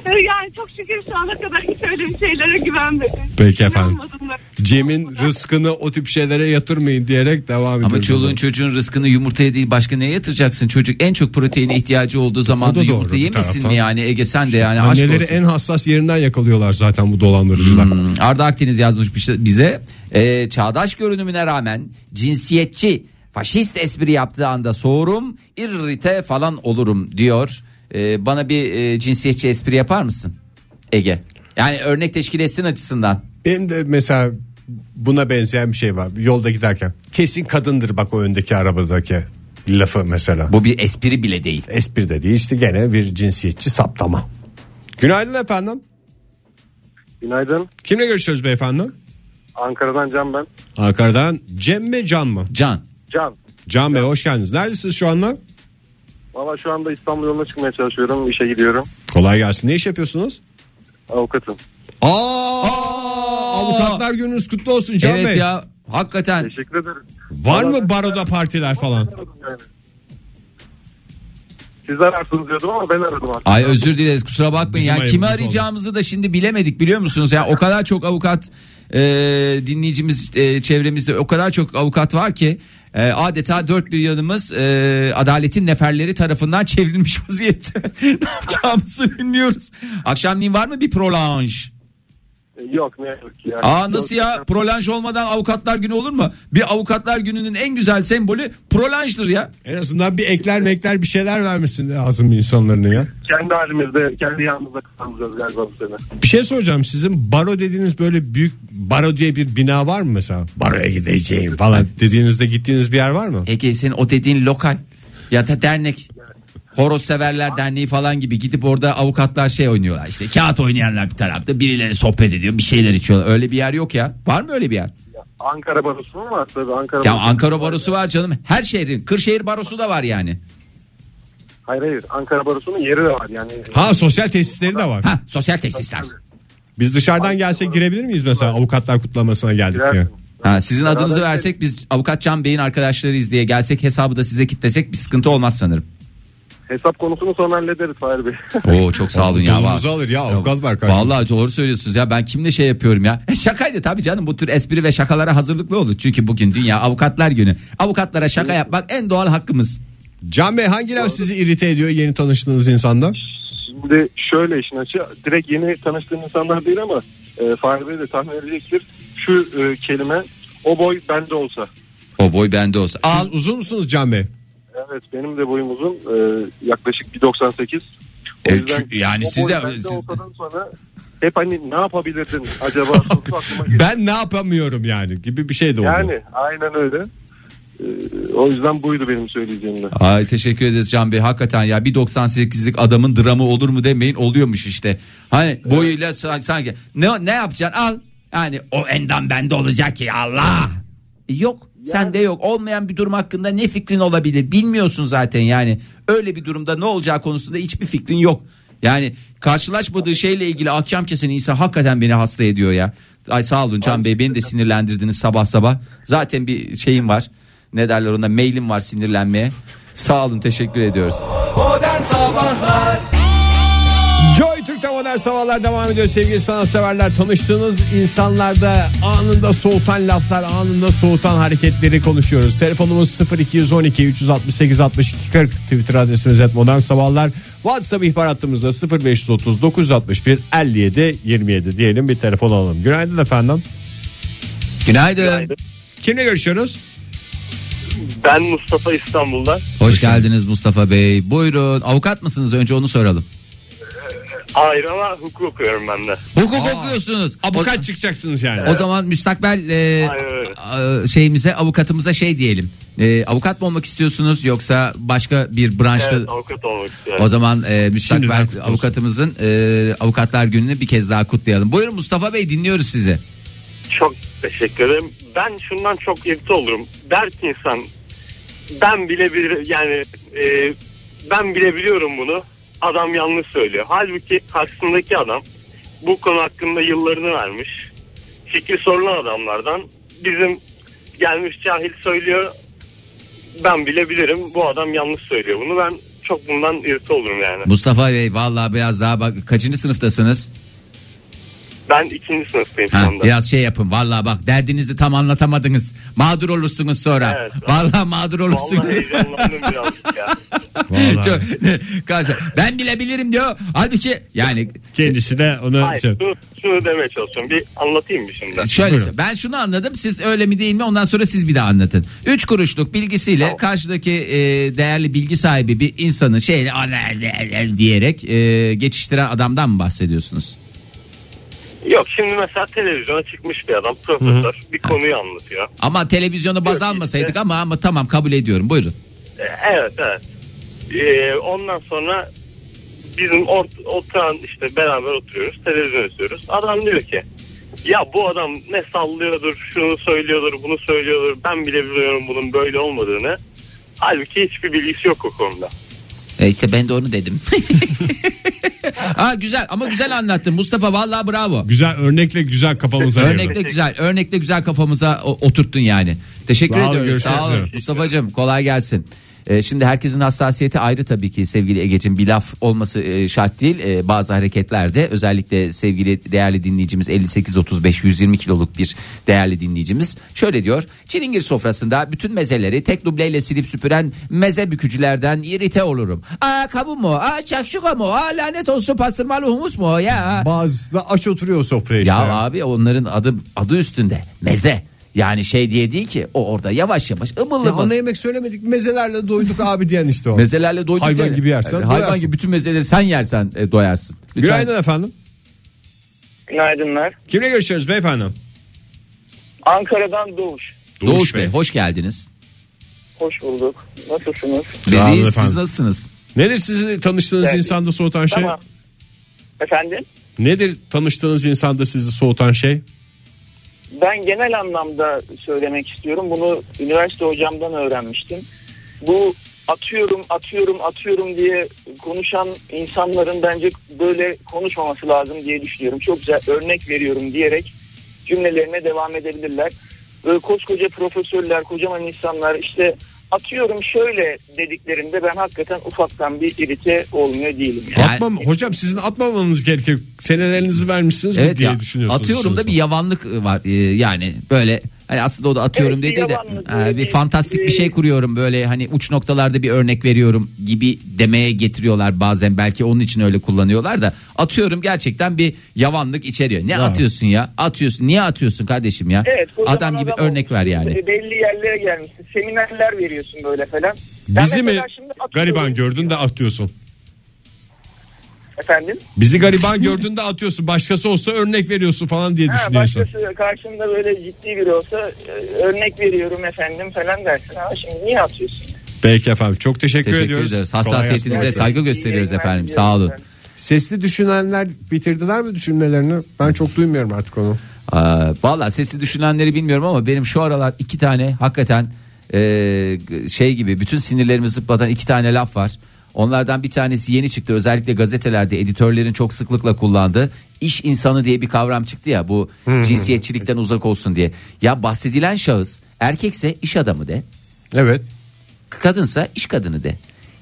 Speaker 8: Ee, Yani çok şükür şu ana kadar hiç öyle bir şeylere güvenmedim.
Speaker 3: Peki efendim.
Speaker 8: İnanmadım da.
Speaker 3: Cem'in rızkını o tip şeylere yatırmayın diyerek devam ediyoruz.
Speaker 4: Ama çoluğun çocuğun rızkını yumurtaya değil başka neye yatıracaksın? Çocuk en çok proteine ihtiyacı olduğu zaman da
Speaker 3: doğru
Speaker 4: yumurta
Speaker 3: bir
Speaker 4: yemesin
Speaker 3: taraftan.
Speaker 4: mi yani Ege sen de yani aşk
Speaker 3: Anneleri
Speaker 4: olsun.
Speaker 3: en hassas yerinden yakalıyorlar zaten bu dolandırıcılar.
Speaker 4: Hmm, Arda Akdeniz yazmış bir şey- bize Ee, çağdaş görünümüne rağmen cinsiyetçi faşist espri yaptığı anda soğurum irrite falan olurum diyor. Ee, bana bir e, cinsiyetçi espri yapar mısın Ege? Yani örnek teşkil etsin açısından.
Speaker 3: Benim de mesela buna benzeyen bir şey var. Yolda giderken kesin kadındır bak o öndeki arabadaki lafı mesela.
Speaker 4: Bu bir espri bile değil.
Speaker 3: espri de değil işte gene bir cinsiyetçi saptama. Günaydın efendim.
Speaker 6: Günaydın.
Speaker 3: Kimle görüşüyoruz beyefendi?
Speaker 6: Ankara'dan Can ben.
Speaker 3: Ankara'dan Cem mi Can mı?
Speaker 4: Can
Speaker 6: Can.
Speaker 3: Can Bey hoş geldiniz. Neredesiniz şu anda?
Speaker 6: Valla şu anda İstanbul yoluna çıkmaya çalışıyorum. İşe gidiyorum.
Speaker 3: Kolay gelsin. Ne iş yapıyorsunuz?
Speaker 6: Avukatım.
Speaker 3: Aa, avukatlar gününüz kutlu olsun Can
Speaker 4: evet
Speaker 3: Bey.
Speaker 4: ya hakikaten
Speaker 6: Teşekkür ederim.
Speaker 3: Var mı baroda partiler falan?
Speaker 6: Yani. Sizler arsınız diyordum ama ben aradım artık.
Speaker 4: Ay özür dileriz kusura bakmayın.
Speaker 3: Bizim
Speaker 4: Yani kimi
Speaker 3: ayıbımız oldu.
Speaker 4: arayacağımızı da şimdi bilemedik biliyor musunuz? Yani o kadar çok avukat e, dinleyicimiz e, çevremizde o kadar çok avukat var ki e, adeta dört bir yanımız e, adaletin neferleri tarafından çevrilmiş <laughs> vaziyette. ne yapacağımızı bilmiyoruz. Akşamleyin var mı bir prolanj?
Speaker 6: Yok ne yazık ki. Yani.
Speaker 4: Aa nasıl ya? Prolanj olmadan avukatlar günü olur mu? Bir avukatlar gününün en güzel sembolü prolanjdır ya.
Speaker 3: En azından bir ekler mekler bir şeyler vermesin lazım insanların ya.
Speaker 6: Kendi halimizde, kendi yanımızda kazanacağız galiba bu sene.
Speaker 3: Bir şey soracağım sizin baro dediğiniz böyle büyük baro diye bir bina var mı mesela? Baroya gideceğim falan dediğinizde gittiğiniz bir yer var mı?
Speaker 4: Ege senin o dediğin lokal ya da dernek horoz severler derneği falan gibi gidip orada avukatlar şey oynuyorlar işte kağıt oynayanlar bir tarafta birileri sohbet ediyor bir şeyler içiyorlar öyle bir yer yok ya var mı öyle bir yer
Speaker 6: Ankara barosu mu var tabii Ankara
Speaker 4: ya
Speaker 6: barosu
Speaker 4: Ankara
Speaker 6: var.
Speaker 4: barosu var canım her şehrin Kırşehir barosu da var yani
Speaker 6: Hayır hayır Ankara barosunun yeri de var yani.
Speaker 3: Ha sosyal tesisleri de var.
Speaker 4: ha sosyal tesisler
Speaker 3: Biz dışarıdan gelsek girebilir miyiz mesela avukatlar kutlamasına geldik diye.
Speaker 6: Girersin.
Speaker 4: ha, sizin adınızı versek biz avukat Can Bey'in arkadaşlarıyız diye gelsek hesabı da size kitlesek bir sıkıntı olmaz sanırım
Speaker 6: Hesap konusunu sonra hallederiz Fahir
Speaker 4: <laughs>
Speaker 6: Bey.
Speaker 4: Oo çok sağ olun ya.
Speaker 3: Donunuzu alır ya, avukat var karşımda.
Speaker 4: Vallahi doğru söylüyorsunuz ya ben kimle şey yapıyorum ya. E, şakaydı tabii canım bu tür espri ve şakalara hazırlıklı olun. Çünkü bugün dünya avukatlar günü. Avukatlara şaka yapmak en doğal hakkımız.
Speaker 3: Can Bey hangi laf sizi irite ediyor yeni tanıştığınız insanda?
Speaker 6: Şimdi şöyle işin açığı direkt yeni tanıştığım insanlar değil ama e, Fahir Bey de tahmin edecektir. Şu e, kelime o boy bende olsa.
Speaker 4: O boy bende olsa. Al.
Speaker 3: Siz uzun musunuz Can Bey?
Speaker 6: Evet benim de boyum uzun. E, yaklaşık 1.98. O
Speaker 4: E,
Speaker 6: yüzden
Speaker 4: çü- yani
Speaker 6: o
Speaker 4: siz
Speaker 6: boy
Speaker 4: de-
Speaker 6: bende
Speaker 4: siz-
Speaker 6: olsadan sonra hep hani ne yapabilirdin
Speaker 4: <laughs>
Speaker 6: acaba sorusu aklıma geliyor.
Speaker 3: Ben ne yapamıyorum yani gibi bir şey de oldu.
Speaker 6: Yani aynen öyle. E, o yüzden buydu benim söyleyeceğim de.
Speaker 4: Ay teşekkür ederiz Can Bey. Hakikaten ya bir 98'lik adamın dramı olur mu demeyin oluyormuş işte. Hani boyuyla sa- sanki ne ne yapacaksın al. Yani o endam bende olacak ki Allah. E, Yok sende yok olmayan bir durum hakkında ne fikrin olabilir bilmiyorsun zaten yani öyle bir durumda ne olacağı konusunda hiçbir fikrin yok. Yani karşılaşmadığı şeyle ilgili akşam kesen insan hakikaten beni hasta ediyor ya. Ay sağ olun Can Bey beni de sinirlendirdiniz sabah sabah. Zaten bir şeyim var ne derler ona mailim var sinirlenmeye. Sağ olun teşekkür ediyoruz.
Speaker 2: Modern Sabahlar
Speaker 3: Joy Türk'te modern sabahlar devam ediyor sevgili sanatseverler. Tanıştığınız insanlarda anında soğutan laflar, anında soğutan hareketleri konuşuyoruz. Telefonumuz 0212 368 62 40 Twitter adresimiz et modern sabahlar. WhatsApp ihbar hattımızda 0530 961 57 27 diyelim bir telefon alalım. Günaydın efendim.
Speaker 4: Günaydın.
Speaker 3: Kimle görüşüyoruz?
Speaker 7: Ben Mustafa İstanbul'da.
Speaker 4: Hoş geldiniz Mustafa Bey. Buyurun. Avukat mısınız? Önce onu soralım.
Speaker 7: Hayır ama hukuk okuyorum ben de.
Speaker 4: Hukuk okuyorsunuz.
Speaker 3: Avukat çıkacaksınız yani.
Speaker 4: O zaman müstakbel e,
Speaker 7: Aynen öyle.
Speaker 4: a- şeyimize avukatımıza şey diyelim. E, avukat mı olmak istiyorsunuz yoksa başka bir branşta?
Speaker 7: Evet, avukat olmak istiyorum.
Speaker 4: O zaman e,
Speaker 3: Şimdiden
Speaker 4: müstakbel
Speaker 3: kutlu olsun.
Speaker 4: avukatımızın e, avukatlar gününü bir kez daha kutlayalım. Buyurun Mustafa Bey dinliyoruz sizi.
Speaker 7: Çok teşekkür ederim. Ben şundan çok irite olurum. Der ki insan ben bile bir yani e, ben bile biliyorum bunu. Adam yanlış söylüyor. Halbuki karşısındaki adam bu konu hakkında yıllarını vermiş. Fikri sorulan adamlardan bizim gelmiş cahil söylüyor. Ben bilebilirim bu adam yanlış söylüyor bunu ben çok bundan irti olurum yani.
Speaker 4: Mustafa Bey vallahi biraz daha bak kaçıncı sınıftasınız?
Speaker 7: Ben ikinci sınıftayım şu
Speaker 4: Ha,
Speaker 7: anda.
Speaker 4: biraz şey yapın vallahi bak derdinizi tam anlatamadınız. Mağdur olursunuz sonra.
Speaker 7: Evet.
Speaker 4: vallahi mağdur olursunuz.
Speaker 7: Vallahi
Speaker 4: <laughs>
Speaker 7: heyecanlandım birazcık ya.
Speaker 4: Çok- Karşı- ben bilebilirim diyor. Halbuki yani
Speaker 3: Kendisi de onu şey-
Speaker 7: Hayır şunu, şunu demeye çalışıyorum bir anlatayım mı şimdi?
Speaker 4: şöyle ben şunu anladım. Siz öyle mi değil mi? Ondan sonra siz bir de anlatın. Üç kuruşluk bilgisiyle karşıdaki e, değerli bilgi sahibi bir insanı şeyle "Ana, le, le" diyerek e, geçiştiren adamdan mı bahsediyorsunuz?
Speaker 7: Yok şimdi mesela televizyona çıkmış bir adam profesör bir konuyu anlatıyor.
Speaker 4: Ama televizyonu baz
Speaker 7: Yok,
Speaker 4: almasaydık
Speaker 7: işte.
Speaker 4: ama ama tamam kabul ediyorum. Buyurun.
Speaker 7: Ee, Evet evet. Ee, ondan sonra bizim ort oturan işte beraber oturuyoruz televizyon izliyoruz. Adam diyor ki ya bu adam ne sallıyordur şunu söylüyordur bunu söylüyordur ben bile biliyorum bunun böyle olmadığını. Halbuki hiçbir bilgisi yok o konuda.
Speaker 4: E işte ben de onu dedim. <laughs> ha güzel ama güzel anlattın Mustafa vallahi bravo.
Speaker 3: Güzel örnekle güzel kafamıza
Speaker 4: Örnekle
Speaker 3: yayalım.
Speaker 4: güzel, örnekle güzel kafamıza o- oturttun yani. Teşekkür
Speaker 3: Sağ olun,
Speaker 4: ediyorum.
Speaker 3: görüşmek
Speaker 4: Sağ olun
Speaker 3: üzere.
Speaker 4: Mustafa'cığım kolay gelsin. Ee, şimdi herkesin hassasiyeti ayrı tabii ki sevgili Ege'cim bir laf olması e, şart değil. Ee, bazı hareketlerde özellikle sevgili değerli dinleyicimiz 58-35 120 kiloluk bir değerli dinleyicimiz şöyle diyor. Çilingir sofrasında bütün mezeleri tek dubleyle silip süpüren meze bükücülerden irite olurum. Aa kavun mu? Aa çakşuka mu? Aa lanet olsun pastırmalı humus mu? Ya.
Speaker 3: Bazısı da aç oturuyor sofraya işte.
Speaker 4: Ya abi onların adı adı üstünde meze. Yani şey diye değil ki o orada yavaş yavaş ımıl
Speaker 3: Ya
Speaker 4: ımıl.
Speaker 3: ana yemek söylemedik mezelerle doyduk abi diyen işte o.
Speaker 4: Mezelerle doyduk.
Speaker 3: Hayvan
Speaker 4: yani.
Speaker 3: gibi yersen
Speaker 4: Yani hayvan
Speaker 3: doyarsın.
Speaker 4: gibi bütün mezeleri sen yersen e, doyarsın. Lütfen.
Speaker 3: Günaydın efendim.
Speaker 9: Günaydınlar.
Speaker 3: Kimle görüşüyoruz beyefendi?
Speaker 9: Ankara'dan Doğuş.
Speaker 4: Doğuş, Bey. hoş geldiniz.
Speaker 9: Hoş bulduk. Nasılsınız?
Speaker 4: Biz
Speaker 3: olun
Speaker 4: iyiyiz, siz
Speaker 3: efendim.
Speaker 4: nasılsınız?
Speaker 3: Nedir sizi tanıştığınız
Speaker 9: Evet.
Speaker 3: insanda soğutan şey?
Speaker 9: Tamam. Efendim?
Speaker 3: Nedir tanıştığınız insanda sizi soğutan şey?
Speaker 9: Ben genel anlamda söylemek istiyorum. Bunu üniversite hocamdan öğrenmiştim. Bu atıyorum, atıyorum, atıyorum diye konuşan insanların bence böyle konuşmaması lazım diye düşünüyorum. Çok güzel örnek veriyorum diyerek cümlelerine devam edebilirler. Böyle koskoca profesörler, kocaman insanlar işte atıyorum şöyle dediklerinde ben hakikaten ufaktan bir irite olmuyor değilim. Yani.
Speaker 4: Yani-
Speaker 3: Atmam, hocam sizin atmamanız gerekiyor. Senelerinizi vermişsiniz mi
Speaker 4: Evet
Speaker 3: diye
Speaker 4: ya,
Speaker 3: düşünüyorsunuz.
Speaker 4: atıyorum da bir
Speaker 3: Siz.
Speaker 4: yavanlık var e, yani böyle hani aslında o da atıyorum
Speaker 9: Evet, bir
Speaker 4: dedi de
Speaker 9: yavanlık,
Speaker 4: e,
Speaker 9: böyle
Speaker 4: bir
Speaker 9: bir- e,
Speaker 4: fantastik bir şey kuruyorum böyle hani uç noktalarda bir örnek veriyorum gibi demeye getiriyorlar bazen belki onun için öyle kullanıyorlar da atıyorum gerçekten bir yavanlık içeriyor. Ne atıyorsun ya? Atıyorsun. Niye atıyorsun kardeşim ya?
Speaker 9: Evet, kocaman
Speaker 4: adam gibi
Speaker 9: adam
Speaker 4: örnek ver
Speaker 9: olmuşsun,
Speaker 4: yani.
Speaker 9: Belli yerlere gelmişsin. Seminerler veriyorsun böyle falan. Ben
Speaker 3: Bizi mi
Speaker 9: mesela şimdi atıyorum-
Speaker 3: gariban gördün de atıyorsun?
Speaker 9: Efendim?
Speaker 3: Bizi gariban gördün de atıyorsun. Başkası olsa örnek veriyorsun falan diye
Speaker 9: Ha,
Speaker 3: düşünüyorsun.
Speaker 9: başkası karşımda böyle ciddi biri olsa e, örnek veriyorum efendim falan dersin. Ama şimdi niye atıyorsun?
Speaker 3: Peki efendim. Çok teşekkür,
Speaker 4: Teşekkür
Speaker 3: ediyoruz.
Speaker 4: ederiz.
Speaker 3: Kolay
Speaker 4: Hassasiyetinize
Speaker 3: gelsin.
Speaker 4: saygı gösteriyoruz
Speaker 9: İyi yayınlar
Speaker 4: efendim.
Speaker 9: diliyorum
Speaker 4: Sağ olun.
Speaker 9: efendim.
Speaker 3: Sesli düşünenler bitirdiler mi düşünmelerini? Ben çok duymuyorum artık onu.
Speaker 4: Aa, Valla Ee, sesli düşünenleri bilmiyorum ama benim şu aralar iki tane hakikaten e, şey gibi bütün sinirlerimi zıplatan iki tane laf var. Onlardan bir tanesi yeni çıktı özellikle gazetelerde editörlerin çok sıklıkla kullandığı iş insanı diye bir kavram çıktı ya bu cinsiyetçilikten uzak olsun diye. Ya bahsedilen şahıs erkekse iş adamı de
Speaker 3: Evet.
Speaker 4: kadınsa iş kadını de.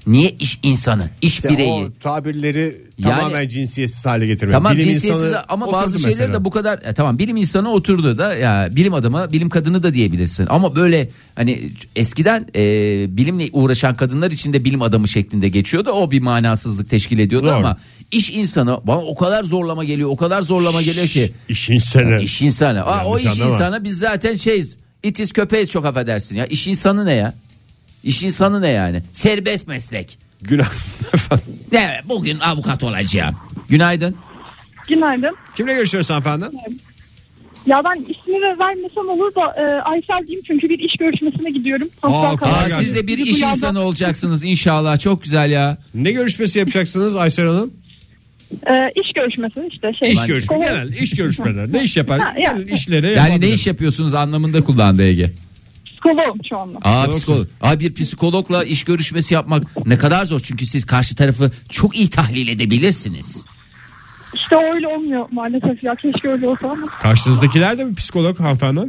Speaker 4: Niye iş insanı iş bireyi?
Speaker 3: O tabirleri
Speaker 4: Yani-
Speaker 3: tamamen cinsiyetsiz hale getirmek.
Speaker 4: Tamam
Speaker 3: Bilim
Speaker 4: cinsiyetsiz
Speaker 3: insanı
Speaker 4: ama
Speaker 3: oturdu
Speaker 4: bazı şeyleri
Speaker 3: mesela.
Speaker 4: de bu kadar e, tamam bilim insanı oturdu da ya bilim adamı bilim kadını da diyebilirsin ama böyle hani eskiden e, bilimle uğraşan kadınlar için de bilim adamı şeklinde geçiyordu o bir manasızlık teşkil ediyordu
Speaker 3: Doğru.
Speaker 4: ama iş insanı bana o kadar zorlama geliyor o kadar zorlama geliyor ki
Speaker 3: İş insanı.
Speaker 4: iş insanı Aa, o
Speaker 3: Yanlış
Speaker 4: iş
Speaker 3: anlama.
Speaker 4: insanı biz zaten şeyiz itiz köpeğiz çok affedersin ya iş insanı ne ya iş insanı ne yani serbest meslek
Speaker 3: Günah efendim.
Speaker 4: ne bugün avukat olacağım günaydın
Speaker 8: Günaydın.
Speaker 3: Kimle görüşüyoruz hanımefendi?
Speaker 8: Ya ben ismini de vermesem olur da e, Aysel diyeyim çünkü bir iş görüşmesine gidiyorum. Hatta
Speaker 3: Aa,
Speaker 4: Aa,
Speaker 3: kolay
Speaker 8: kalacağım.
Speaker 4: siz de bir
Speaker 8: Bizi
Speaker 4: iş
Speaker 8: duyan da-
Speaker 4: insanı olacaksınız inşallah. Çok güzel ya.
Speaker 3: Ne görüşmesi yapacaksınız Aysel Hanım?
Speaker 8: E, iş görüşmesi işte şey.
Speaker 3: İş görüşme.
Speaker 8: Kolay-
Speaker 3: Genel iş görüşmeleri. Ne iş yapar?
Speaker 8: Ha, ya.
Speaker 3: Genel işleri
Speaker 4: Yani ne iş yapıyorsunuz anlamında kullandı Ege.
Speaker 8: Psikoloğum şu anda.
Speaker 4: Aa,
Speaker 3: Psikologsun.
Speaker 4: psikolog. Aa, bir psikologla iş görüşmesi yapmak ne kadar zor. Çünkü siz karşı tarafı çok iyi tahlil edebilirsiniz.
Speaker 10: İşte öyle olmuyor maalesef ya keşke öyle olsa ama.
Speaker 3: Karşınızdakiler de mi psikolog hanımefendi?
Speaker 10: Ee,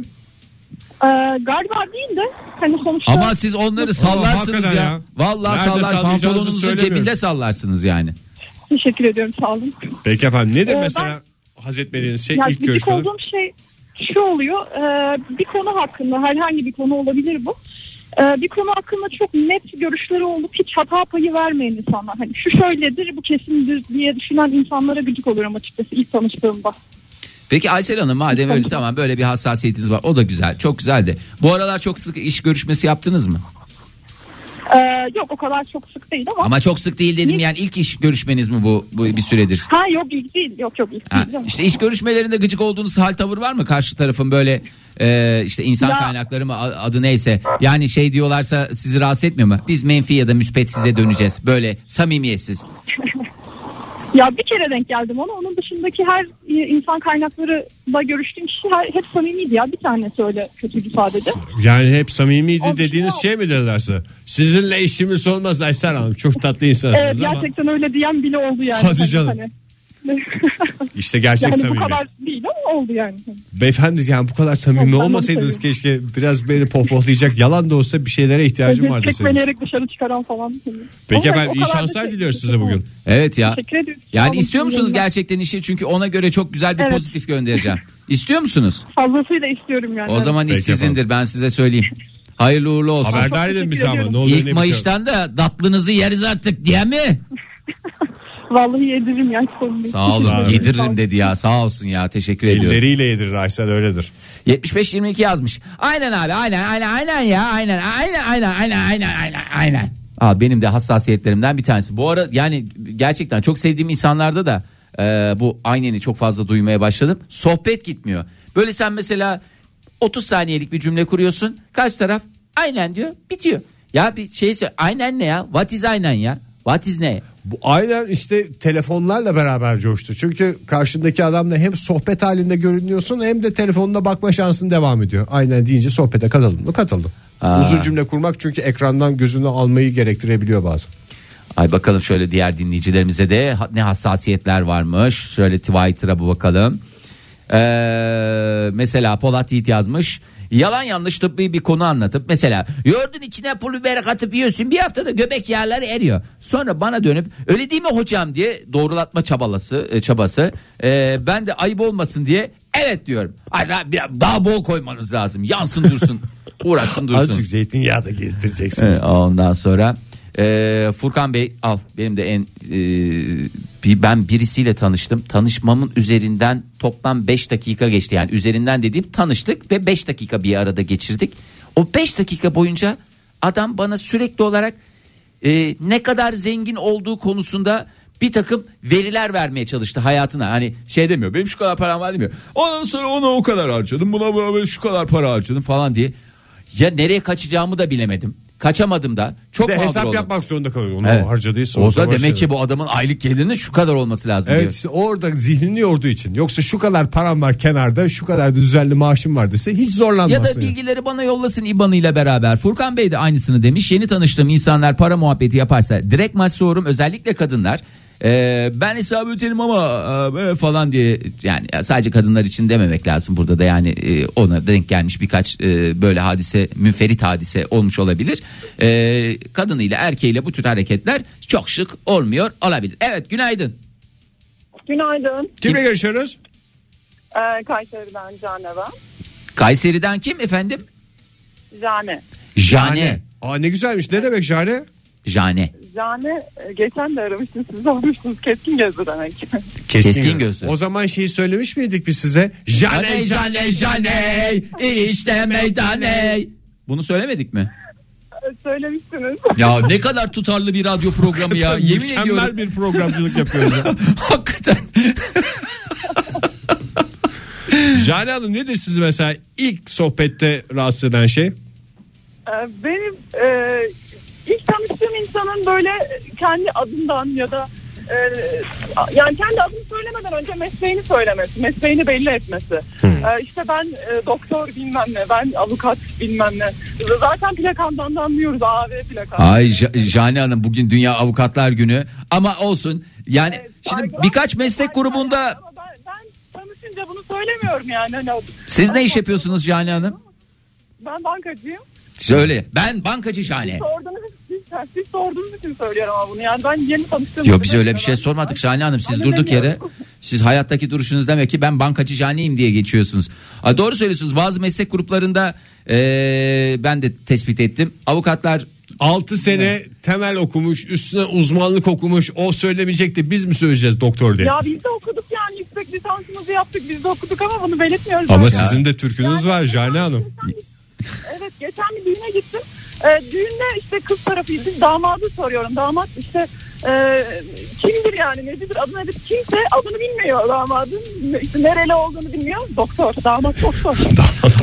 Speaker 10: galiba değil de hani sonuçta
Speaker 4: Ama siz onları sallarsınız ya.
Speaker 3: hakikaten ya.
Speaker 4: Vallahi
Speaker 3: Nerede
Speaker 4: sallar
Speaker 3: sallayacağınızı
Speaker 4: pantolonunuzun
Speaker 3: söylemiyoruz.
Speaker 4: cebinde sallarsınız yani.
Speaker 10: teşekkür ediyorum sağ olun.
Speaker 3: Peki efendim nedir
Speaker 10: Ee,
Speaker 3: mesela haz etmediğiniz şey
Speaker 10: Ya
Speaker 3: ilk
Speaker 10: gıcık
Speaker 3: görüşmede?
Speaker 10: olduğum şey şu oluyor. e, bir konu hakkında herhangi bir konu olabilir bu. E, bir konu hakkında çok net görüşleri olup hiç hata payı vermeyen insanlar. Hani şu şöyledir bu kesindir diye düşünen insanlara gıcık oluyorum açıkçası ilk tanıştığımda.
Speaker 4: Peki Aysel Hanım madem öyle
Speaker 10: Tabii.
Speaker 4: tamam böyle bir hassasiyetiniz var. O da güzel. Çok güzel de. Bu aralar çok sık iş görüşmesi yaptınız mı?
Speaker 10: E, yok o kadar çok sık değil ama.
Speaker 4: Ama çok sık değil dedim. Yani ilk iş görüşmeniz mi bu, bu bir süredir?
Speaker 10: Ha yok ilk değil. Yok yok ilk
Speaker 4: Ha,
Speaker 10: değil.
Speaker 4: işte iş görüşmelerinde gıcık olduğunuz hal tavır var mı? Karşı tarafın böyle e, işte insan
Speaker 10: Ya-
Speaker 4: kaynakları mı a- adı neyse. Yani şey diyorlarsa sizi rahatsız etmiyor mu? Biz menfi ya da müspet size döneceğiz. Böyle samimiyetsiz.
Speaker 10: Ya bir kere denk geldim ona. Onun dışındaki her e, insan kaynaklarıyla görüştüğüm kişi her, hep samimiydi ya. Bir tanesi öyle kötüydü sadece.
Speaker 3: Yani hep samimiydi
Speaker 10: Abi,
Speaker 3: dediğiniz
Speaker 10: yok.
Speaker 3: şey mi dedilerse? Sizinle işimiz olmaz Aysel Hanım. Çok tatlı insansınız
Speaker 10: Evet
Speaker 3: ama
Speaker 10: Ee, gerçekten öyle diyen bile oldu yani. Hani-
Speaker 3: Hadi canım. işte
Speaker 10: <laughs>
Speaker 3: gerçek
Speaker 10: yani bu
Speaker 3: samimi.
Speaker 10: kadar değil ama oldu yani.
Speaker 3: Beyefendi yani bu kadar samimi
Speaker 10: Yok, ben
Speaker 3: olmasaydınız
Speaker 10: onu
Speaker 3: keşke biraz beni pohpohlayacak yalan da olsa bir şeylere ihtiyacım vardı senin.
Speaker 10: Çekmeleyerek dışarı çıkaran falan. Ama
Speaker 3: Peki
Speaker 10: o
Speaker 3: efendim iyi
Speaker 10: kadar da
Speaker 3: şanslar
Speaker 10: şey-
Speaker 3: diliyoruz size bugün.
Speaker 4: Evet ya.
Speaker 10: Teşekkür ederim. Sağ
Speaker 4: Yani
Speaker 10: olun,
Speaker 4: istiyor musunuz
Speaker 10: yayınlar.
Speaker 4: gerçekten işi? Çünkü ona göre çok güzel bir
Speaker 10: Evet.
Speaker 4: pozitif göndereceğim. İstiyor musunuz?
Speaker 10: Fazlasıyla istiyorum yani.
Speaker 4: O zaman
Speaker 3: Peki
Speaker 4: iş sizindir ben size söyleyeyim. Hayırlı uğurlu olsun.
Speaker 3: Haberdar
Speaker 10: Çok
Speaker 3: edin bizi
Speaker 10: teşekkür
Speaker 3: ama ne
Speaker 10: ediyorum.
Speaker 3: oluyor ne
Speaker 4: İlk
Speaker 3: bitiyor.
Speaker 4: Mayıs'tan da tatlınızı yeriz artık diye mi?
Speaker 10: Vallahi yediririm yani. sorun değil.
Speaker 4: Sağ
Speaker 10: Teşekkür
Speaker 4: olun
Speaker 10: ederim.
Speaker 4: yediririm dedi ya sağ olsun ya teşekkür ediyorum.
Speaker 3: Elleriyle yedirir Aysel öyledir.
Speaker 4: 75-22 yazmış. Aynen abi aynen aynen aynen ya aynen aynen aynen aynen aynen aynen aynen. Aa, benim de hassasiyetlerimden bir tanesi. Bu ara yani gerçekten çok sevdiğim insanlarda da e, bu ayneni çok fazla duymaya başladım. Sohbet gitmiyor. Böyle sen mesela 30 saniyelik bir cümle kuruyorsun. Kaç taraf aynen diyor bitiyor. Ya bir şey söyle aynen ne ya? What is aynen ya? What is ne?
Speaker 3: Bu aynen işte telefonlarla beraber coştu. Çünkü karşındaki adamla hem sohbet halinde görünüyorsun hem de telefonuna bakma şansın devam ediyor. Aynen deyince sohbete katıldın mı katıldın. Uzun cümle kurmak çünkü ekrandan gözünü almayı gerektirebiliyor bazen.
Speaker 4: Ay bakalım şöyle diğer dinleyicilerimize de ha- ne hassasiyetler varmış. Şöyle Twitter'a bu bakalım. Ee, mesela Polat Yiğit yazmış. Yalan yanlış tıbbi bir konu anlatıp mesela yoğurdun içine pul biber katıp yiyorsun bir haftada göbek yağları eriyor. Sonra bana dönüp öyle değil mi hocam diye doğrulatma çabalası e, çabası. Ee, ben de ayıp olmasın diye evet diyorum. Ay, daha, biraz daha bol koymanız lazım yansın dursun uğraşsın dursun.
Speaker 3: Azıcık zeytinyağı da gezdireceksiniz.
Speaker 4: Evet, Ondan sonra e, Furkan Bey al benim de en e, bir- ben birisiyle tanıştım. Tanışmamın üzerinden toplam 5 dakika geçti. Yani üzerinden dediğim tanıştık ve 5 dakika bir arada geçirdik. O 5 dakika boyunca adam bana sürekli olarak e, ne kadar zengin olduğu konusunda bir takım veriler vermeye çalıştı hayatına. Hani şey demiyor benim şu kadar param var demiyor. Ondan sonra ona o kadar harcadım buna böyle şu kadar para harcadım falan diye. Ya nereye kaçacağımı da bilemedim. Kaçamadım da. Çok
Speaker 3: Bir de
Speaker 4: mağdur
Speaker 3: hesap
Speaker 4: oldum.
Speaker 3: yapmak zorunda kalıyor. Onu
Speaker 4: Evet.
Speaker 3: harcadıysa
Speaker 4: O da
Speaker 3: zaman
Speaker 4: demek
Speaker 3: şey-
Speaker 4: ki bu adamın aylık gelirinin şu kadar olması lazım
Speaker 3: Evet
Speaker 4: diyor.
Speaker 3: işte orada zihnini yorduğu için. Yoksa şu kadar param var kenarda şu kadar da düzenli maaşım var dese hiç
Speaker 4: Ya
Speaker 3: zorlanmazsın.
Speaker 4: da bilgileri bana yollasın IBAN'ıyla beraber. Furkan Bey de aynısını demiş. Yeni tanıştığım insanlar para muhabbeti yaparsa direkt maç sorum özellikle kadınlar. Ee, ben hesabı öderim ama e, falan diye yani sadece kadınlar için dememek lazım burada da yani e, ona denk gelmiş birkaç e, böyle hadise müferit hadise olmuş olabilir. Ee, kadınıyla erkeğiyle bu tür hareketler çok şık olmuyor olabilir. Evet günaydın.
Speaker 10: Günaydın.
Speaker 3: Kimle görüşüyoruz?
Speaker 10: Ee, Kayseri'den Cane ben.
Speaker 4: Kayseri'den kim efendim?
Speaker 10: Cane.
Speaker 4: Jane.
Speaker 3: Aa ne güzelmiş. Ne demek Jane?
Speaker 4: Jane.
Speaker 10: Cane e, geçen de <laughs> aramıştım siz olmuştunuz keskin gözü demek. <laughs>
Speaker 4: Keskin Keskin gözlü. gözlü.
Speaker 3: O zaman şeyi söylemiş miydik biz size? Jane <laughs>
Speaker 4: Jane Jane Jane işte meydane. Bunu söylemedik mi?
Speaker 10: Söylemiştiniz.
Speaker 4: Ya ne kadar tutarlı bir radyo programı ya. Yemin
Speaker 3: mükemmel
Speaker 4: ediyorum.
Speaker 3: bir programcılık yapıyoruz.
Speaker 4: <laughs>
Speaker 3: ya.
Speaker 4: Hakikaten.
Speaker 3: Jane Hanım nedir sizi mesela ilk sohbette rahatsız eden şey?
Speaker 10: Ee, Benim e, ilk tanıştığım insanın böyle kendi adından ya da e, yani kendi adını söylemeden önce mesleğini söylemesi, mesleğini belli etmesi.
Speaker 4: Hmm.
Speaker 10: Ee, işte ben e, doktor bilmem ne, ben avukat bilmem ne. Zaten plakandan da anlıyoruz AV plakan.
Speaker 4: Ay Ja- Jane Hanım bugün Dünya Avukatlar Günü. Ama olsun Yani şimdi birkaç meslek grubunda
Speaker 10: Tanışınca bunu söylemiyorum yani. Hani o-
Speaker 4: siz ne iş yapıyorsunuz Şahane Hanım?
Speaker 10: Ben bankacıyım.
Speaker 4: Söyle. Ben bankacı Şahane.
Speaker 10: Siz sorduğunuz, siz, siz sorduğunuz için söylüyorum ama bunu. Yani ben yeni tanıştığım
Speaker 4: Yok biz öyle bir şey sormadık Şahane Hanım. Siz durduk yere siz hayattaki duruşunuz demek ki ben bankacı Şahane'yim diye geçiyorsunuz. Ha, doğru söylüyorsunuz bazı meslek gruplarında eee, ben de tespit ettim. Avukatlar
Speaker 3: 6 sene temel okumuş, üstüne uzmanlık okumuş. O söylemeyecekti. Biz mi söyleyeceğiz doktor diye?
Speaker 10: Ya biz de okuduk yani yüksek lisansımızı yaptık biz de okuduk ama bunu belirtmiyoruz.
Speaker 3: Ama
Speaker 10: Yani.
Speaker 3: sizin de türkünüz var Jane Hanım.
Speaker 10: Evet geçen bir düğüne gittim. Ee, düğünde işte kız tarafıydı damadı soruyorum. Damat işte e, kimdir yani necidir adı nedir kimse adını bilmiyor damadın. İşte nereli olduğunu bilmiyor. Doktor damat
Speaker 4: <laughs>
Speaker 10: doktor.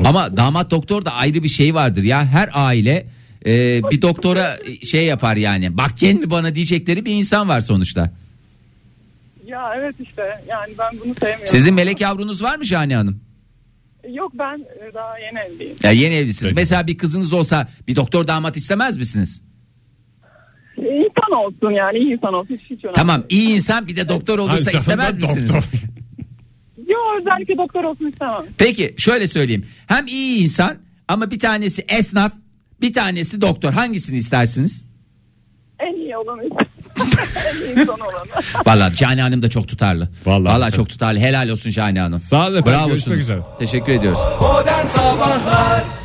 Speaker 4: Ama damat doktor da ayrı bir şey vardır ya her aile eee, bir doktora şey yapar yani bak Cen mi bana diyecekleri bir insan var sonuçta.
Speaker 10: ya evet işte yani ben bunu sevmiyorum.
Speaker 4: Sizin melek yavrunuz var mı Şahane Hanım?
Speaker 10: Yok ben e, daha yeni evliyim.
Speaker 4: Ya yeni evlisiniz. Mesela bir kızınız olsa bir doktor damat istemez misiniz?
Speaker 10: İnsan olsun yani iyi insan olsun hiç, hiç önemli.
Speaker 4: Tamam iyi insan bir de doktor olursa
Speaker 3: Hayır,
Speaker 4: istemez
Speaker 3: zaten
Speaker 4: misiniz?
Speaker 10: Yok özellikle doktor olsun istemem.
Speaker 4: Peki şöyle söyleyeyim. Hem iyi insan ama bir tanesi esnaf, bir tanesi doktor. Hangisini istersiniz?
Speaker 10: En iyi olanı <laughs> en iyi insan olanı.
Speaker 4: Vallahi Cani Hanım da çok tutarlı. Vallahi, çok tutarlı. Helal olsun Cani Hanım. Sağ olun.
Speaker 3: efendim, görüşmek üzere.
Speaker 4: Teşekkür ediyoruz.
Speaker 11: Modern Sabahlar